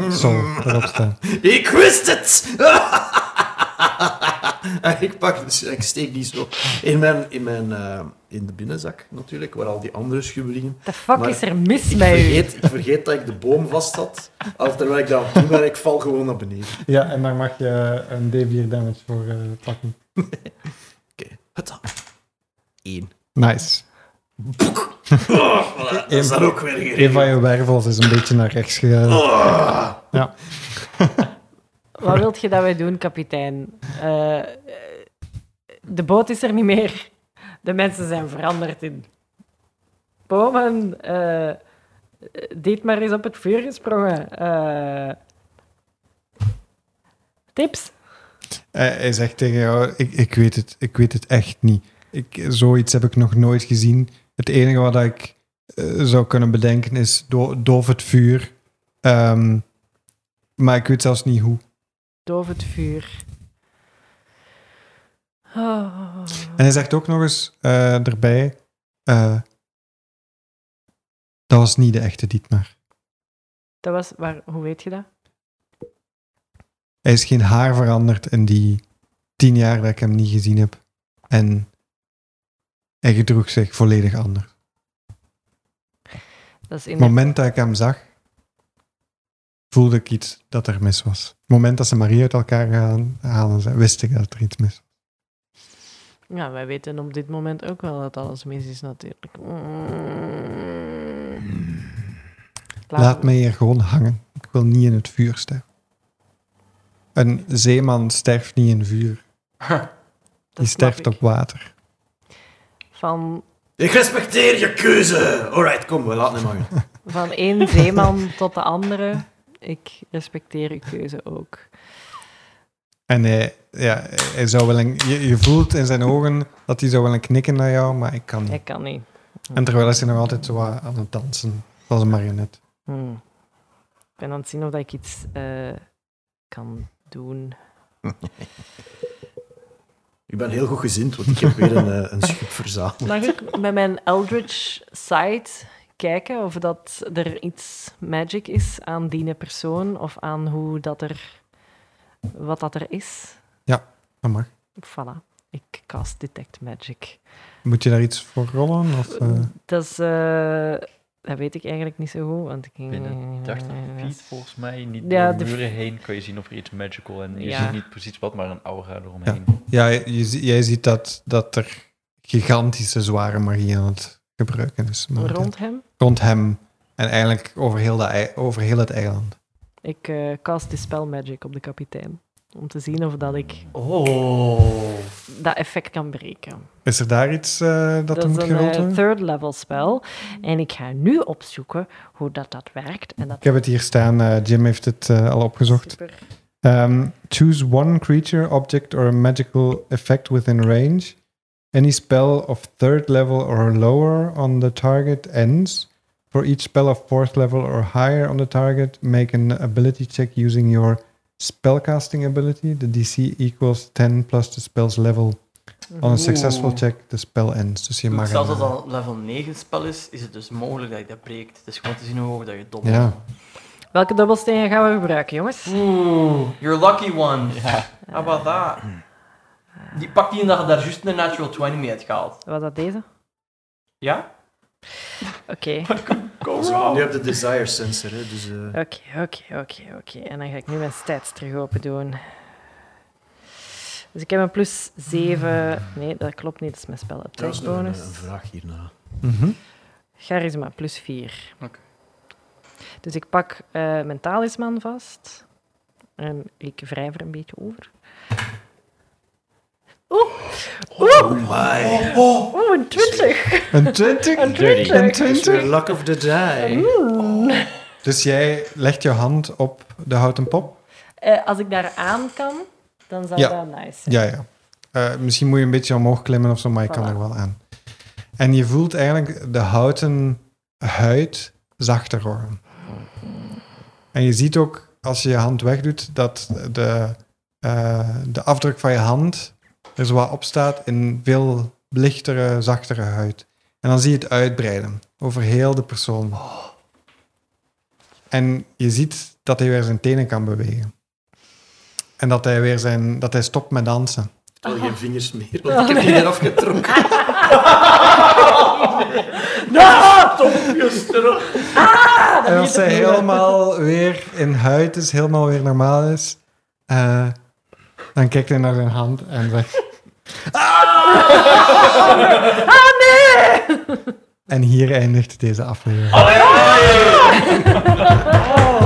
S1: eh Sol erop staan.
S5: Ik wist het! En ik pak dus, ik steek die zo in mijn, in mijn eh, in de binnenzak natuurlijk, waar al die andere schubben liggen.
S3: The fuck
S5: Maar
S3: is er mis
S5: Ik
S3: mee?
S5: vergeet, ik vergeet dat ik de boom vast had. Al terwijl ik dat aan het doen ben, ik val gewoon naar beneden.
S1: Ja, en daar mag je eh, een D4 damage voor eh, pakken.
S5: Oké, het Eén.
S1: Nice.
S5: Oh, voilà, dat is dan ook weer
S1: Een van
S5: geregeld.
S1: je wervels is een beetje naar rechts gegaan.
S5: Oh.
S3: Wat wilt je dat wij doen, kapitein? Eh, eh, de boot is er niet meer. De mensen zijn veranderd in bomen. eh Dietmar is op het vuur gesprongen. Eh, tips?
S1: Eh, hij zegt tegen jou, ik, ik weet het, ik weet het echt niet. Ik, zoiets heb ik nog nooit gezien. Het enige wat ik eh, zou kunnen bedenken is do, doof het vuur. Ehm, maar ik weet zelfs niet hoe.
S3: Doof het vuur. Oh.
S1: En hij zegt ook nog eens eh, erbij, eh, dat was niet de echte Dietmar.
S3: Dat was, waar, hoe weet je dat?
S1: Hij is geen haar veranderd in die tien jaar dat ik hem niet gezien heb. En hij gedroeg zich volledig anders.
S3: Dat is
S1: Het moment dat ik hem zag, voelde ik iets dat er mis was. Het moment dat ze Marie uit elkaar gaan halen, ze- wist ik dat er iets mis was.
S3: Ja, wij weten op dit moment ook wel dat alles mis is, natuurlijk. Mm.
S1: Hmm. Laat, mij hier gewoon hangen. Ik wil niet in het vuur sterven. Een zeeman sterft niet in vuur.
S3: dat
S1: Die
S3: snap
S1: sterft
S3: ik.
S1: op water.
S3: Van,
S5: Ik respecteer je keuze. Alright, kom, we laten hem hangen.
S3: van één zeeman tot de andere. Ik respecteer uw keuze ook.
S1: Hmm. En hij, ja, hij zou wel een, je, je voelt in zijn ogen dat hij zou willen knikken naar jou, maar ik kan niet.
S3: Ik kan niet.
S1: En terwijl is hij nog altijd zo wat aan het dansen, zoals een marionet.
S3: Hmm. Ik ben aan het zien of dat ik iets eh, kan doen.
S5: Ik ben heel goed gezind, want ik heb weer een, eh, een schip verzameld.
S3: Mag ik met mijn Eldritch site kijken of dat er iets magic is aan die persoon of aan hoe dat er, wat dat er is?
S1: Dat mag.
S3: Voilà, ik cast Detect Magic.
S1: Moet je daar iets voor rollen? Of, eh?
S3: Dat is, eh, dat weet ik eigenlijk niet zo goed, want ik... eh,
S6: Binnen 80
S3: Oh,
S6: feet volgens mij, niet
S3: Ja,
S6: door
S3: de-
S6: muren heen, kun je zien of er iets magical en je
S3: Ja.
S6: ziet niet precies wat, maar een aura eromheen.
S1: Ja, je, zie- jij ziet dat, dat er gigantische zware magie aan het gebruiken is. momenteel.
S3: Rond hem.
S1: Rond hem en eigenlijk over heel, de, ei- over heel het eiland.
S3: Ik eh, cast Dispel Magic op de kapitein. Om te zien of dat ik
S2: Oh.
S3: dat effect kan breken.
S1: Is er daar iets eh, dat, er
S3: is
S1: moet
S3: een eh,
S1: gerold worden?
S3: third level spel. En ik ga nu opzoeken hoe dat, dat werkt. En dat
S1: Ik heb het hier staan. eh, Jim heeft het eh, al opgezocht.
S3: Super.
S1: Um, choose one creature, object, or a magical effect within range. Any spell of third level or lower on the target ends. For each spell of fourth level or higher on the target, make an ability check using your spellcasting ability. The DC equals 10 plus the spell's level. On a successful
S2: Oeh.
S1: check, the spell ends. Dus je
S2: Goed,
S1: mag
S2: Zelfs
S1: een,
S2: als dat een level 9 spel is, is het dus mogelijk dat je dat breekt. Het is gewoon te zien hoe hoog dat je dom
S1: Ja.
S3: Welke dobbelstenen gaan we gebruiken, jongens?
S2: Oeh, your lucky one. How about that? Die, pak die en dat je daar juist een natural 20 mee hebt gehaald.
S3: Was dat deze?
S2: Ja?
S3: Oké.
S2: Go
S5: Nu
S2: wrong.
S5: heb je de desire sensor, hè, dus... eh,
S3: Oké, oké, oké, oké. En dan ga ik nu mijn stats terug open doen. Dus ik heb een plus 7. Nee, dat klopt niet. Dat is eh, mijn spel.
S5: trouwens
S3: Attack
S5: nog een,
S3: bonus.
S5: een vraag hierna.
S1: Mhm.
S3: Charisma, plus 4. Dus ik pak eh mijn talisman vast. En ik wrijf er een beetje over. Oeh,
S5: Oh my!
S3: oeh, een 20.
S1: Een 20?
S3: Een 20.
S1: Een
S5: It's the
S1: 20?
S5: luck of the die.
S1: Dus jij legt je hand op de houten pop?
S3: Eh, als ik daar aan kan, dan zou
S1: Ja.
S3: dat nice zijn.
S1: Ja, ja. Eh, misschien moet je een beetje omhoog klimmen of zo, maar je kan
S3: Voilà.
S1: er wel aan. En je voelt eigenlijk de houten huid zachter worden. En je ziet ook, als je je hand wegdoet, dat de, eh, de afdruk van je hand er zo wat op staat in veel lichtere, zachtere huid. En dan zie je het uitbreiden over heel de persoon. En je ziet dat hij weer zijn tenen kan bewegen. En dat hij weer zijn, dat hij stopt met dansen.
S5: Terwijl geen vingers meer, want ik heb die eraf getrokken.
S1: En als zij helemaal weer in huid is, helemaal weer normaal is, eh, dan kijkt hij naar zijn hand en zegt... Ah! nee! En hier eindigt deze aflevering.
S2: Oh,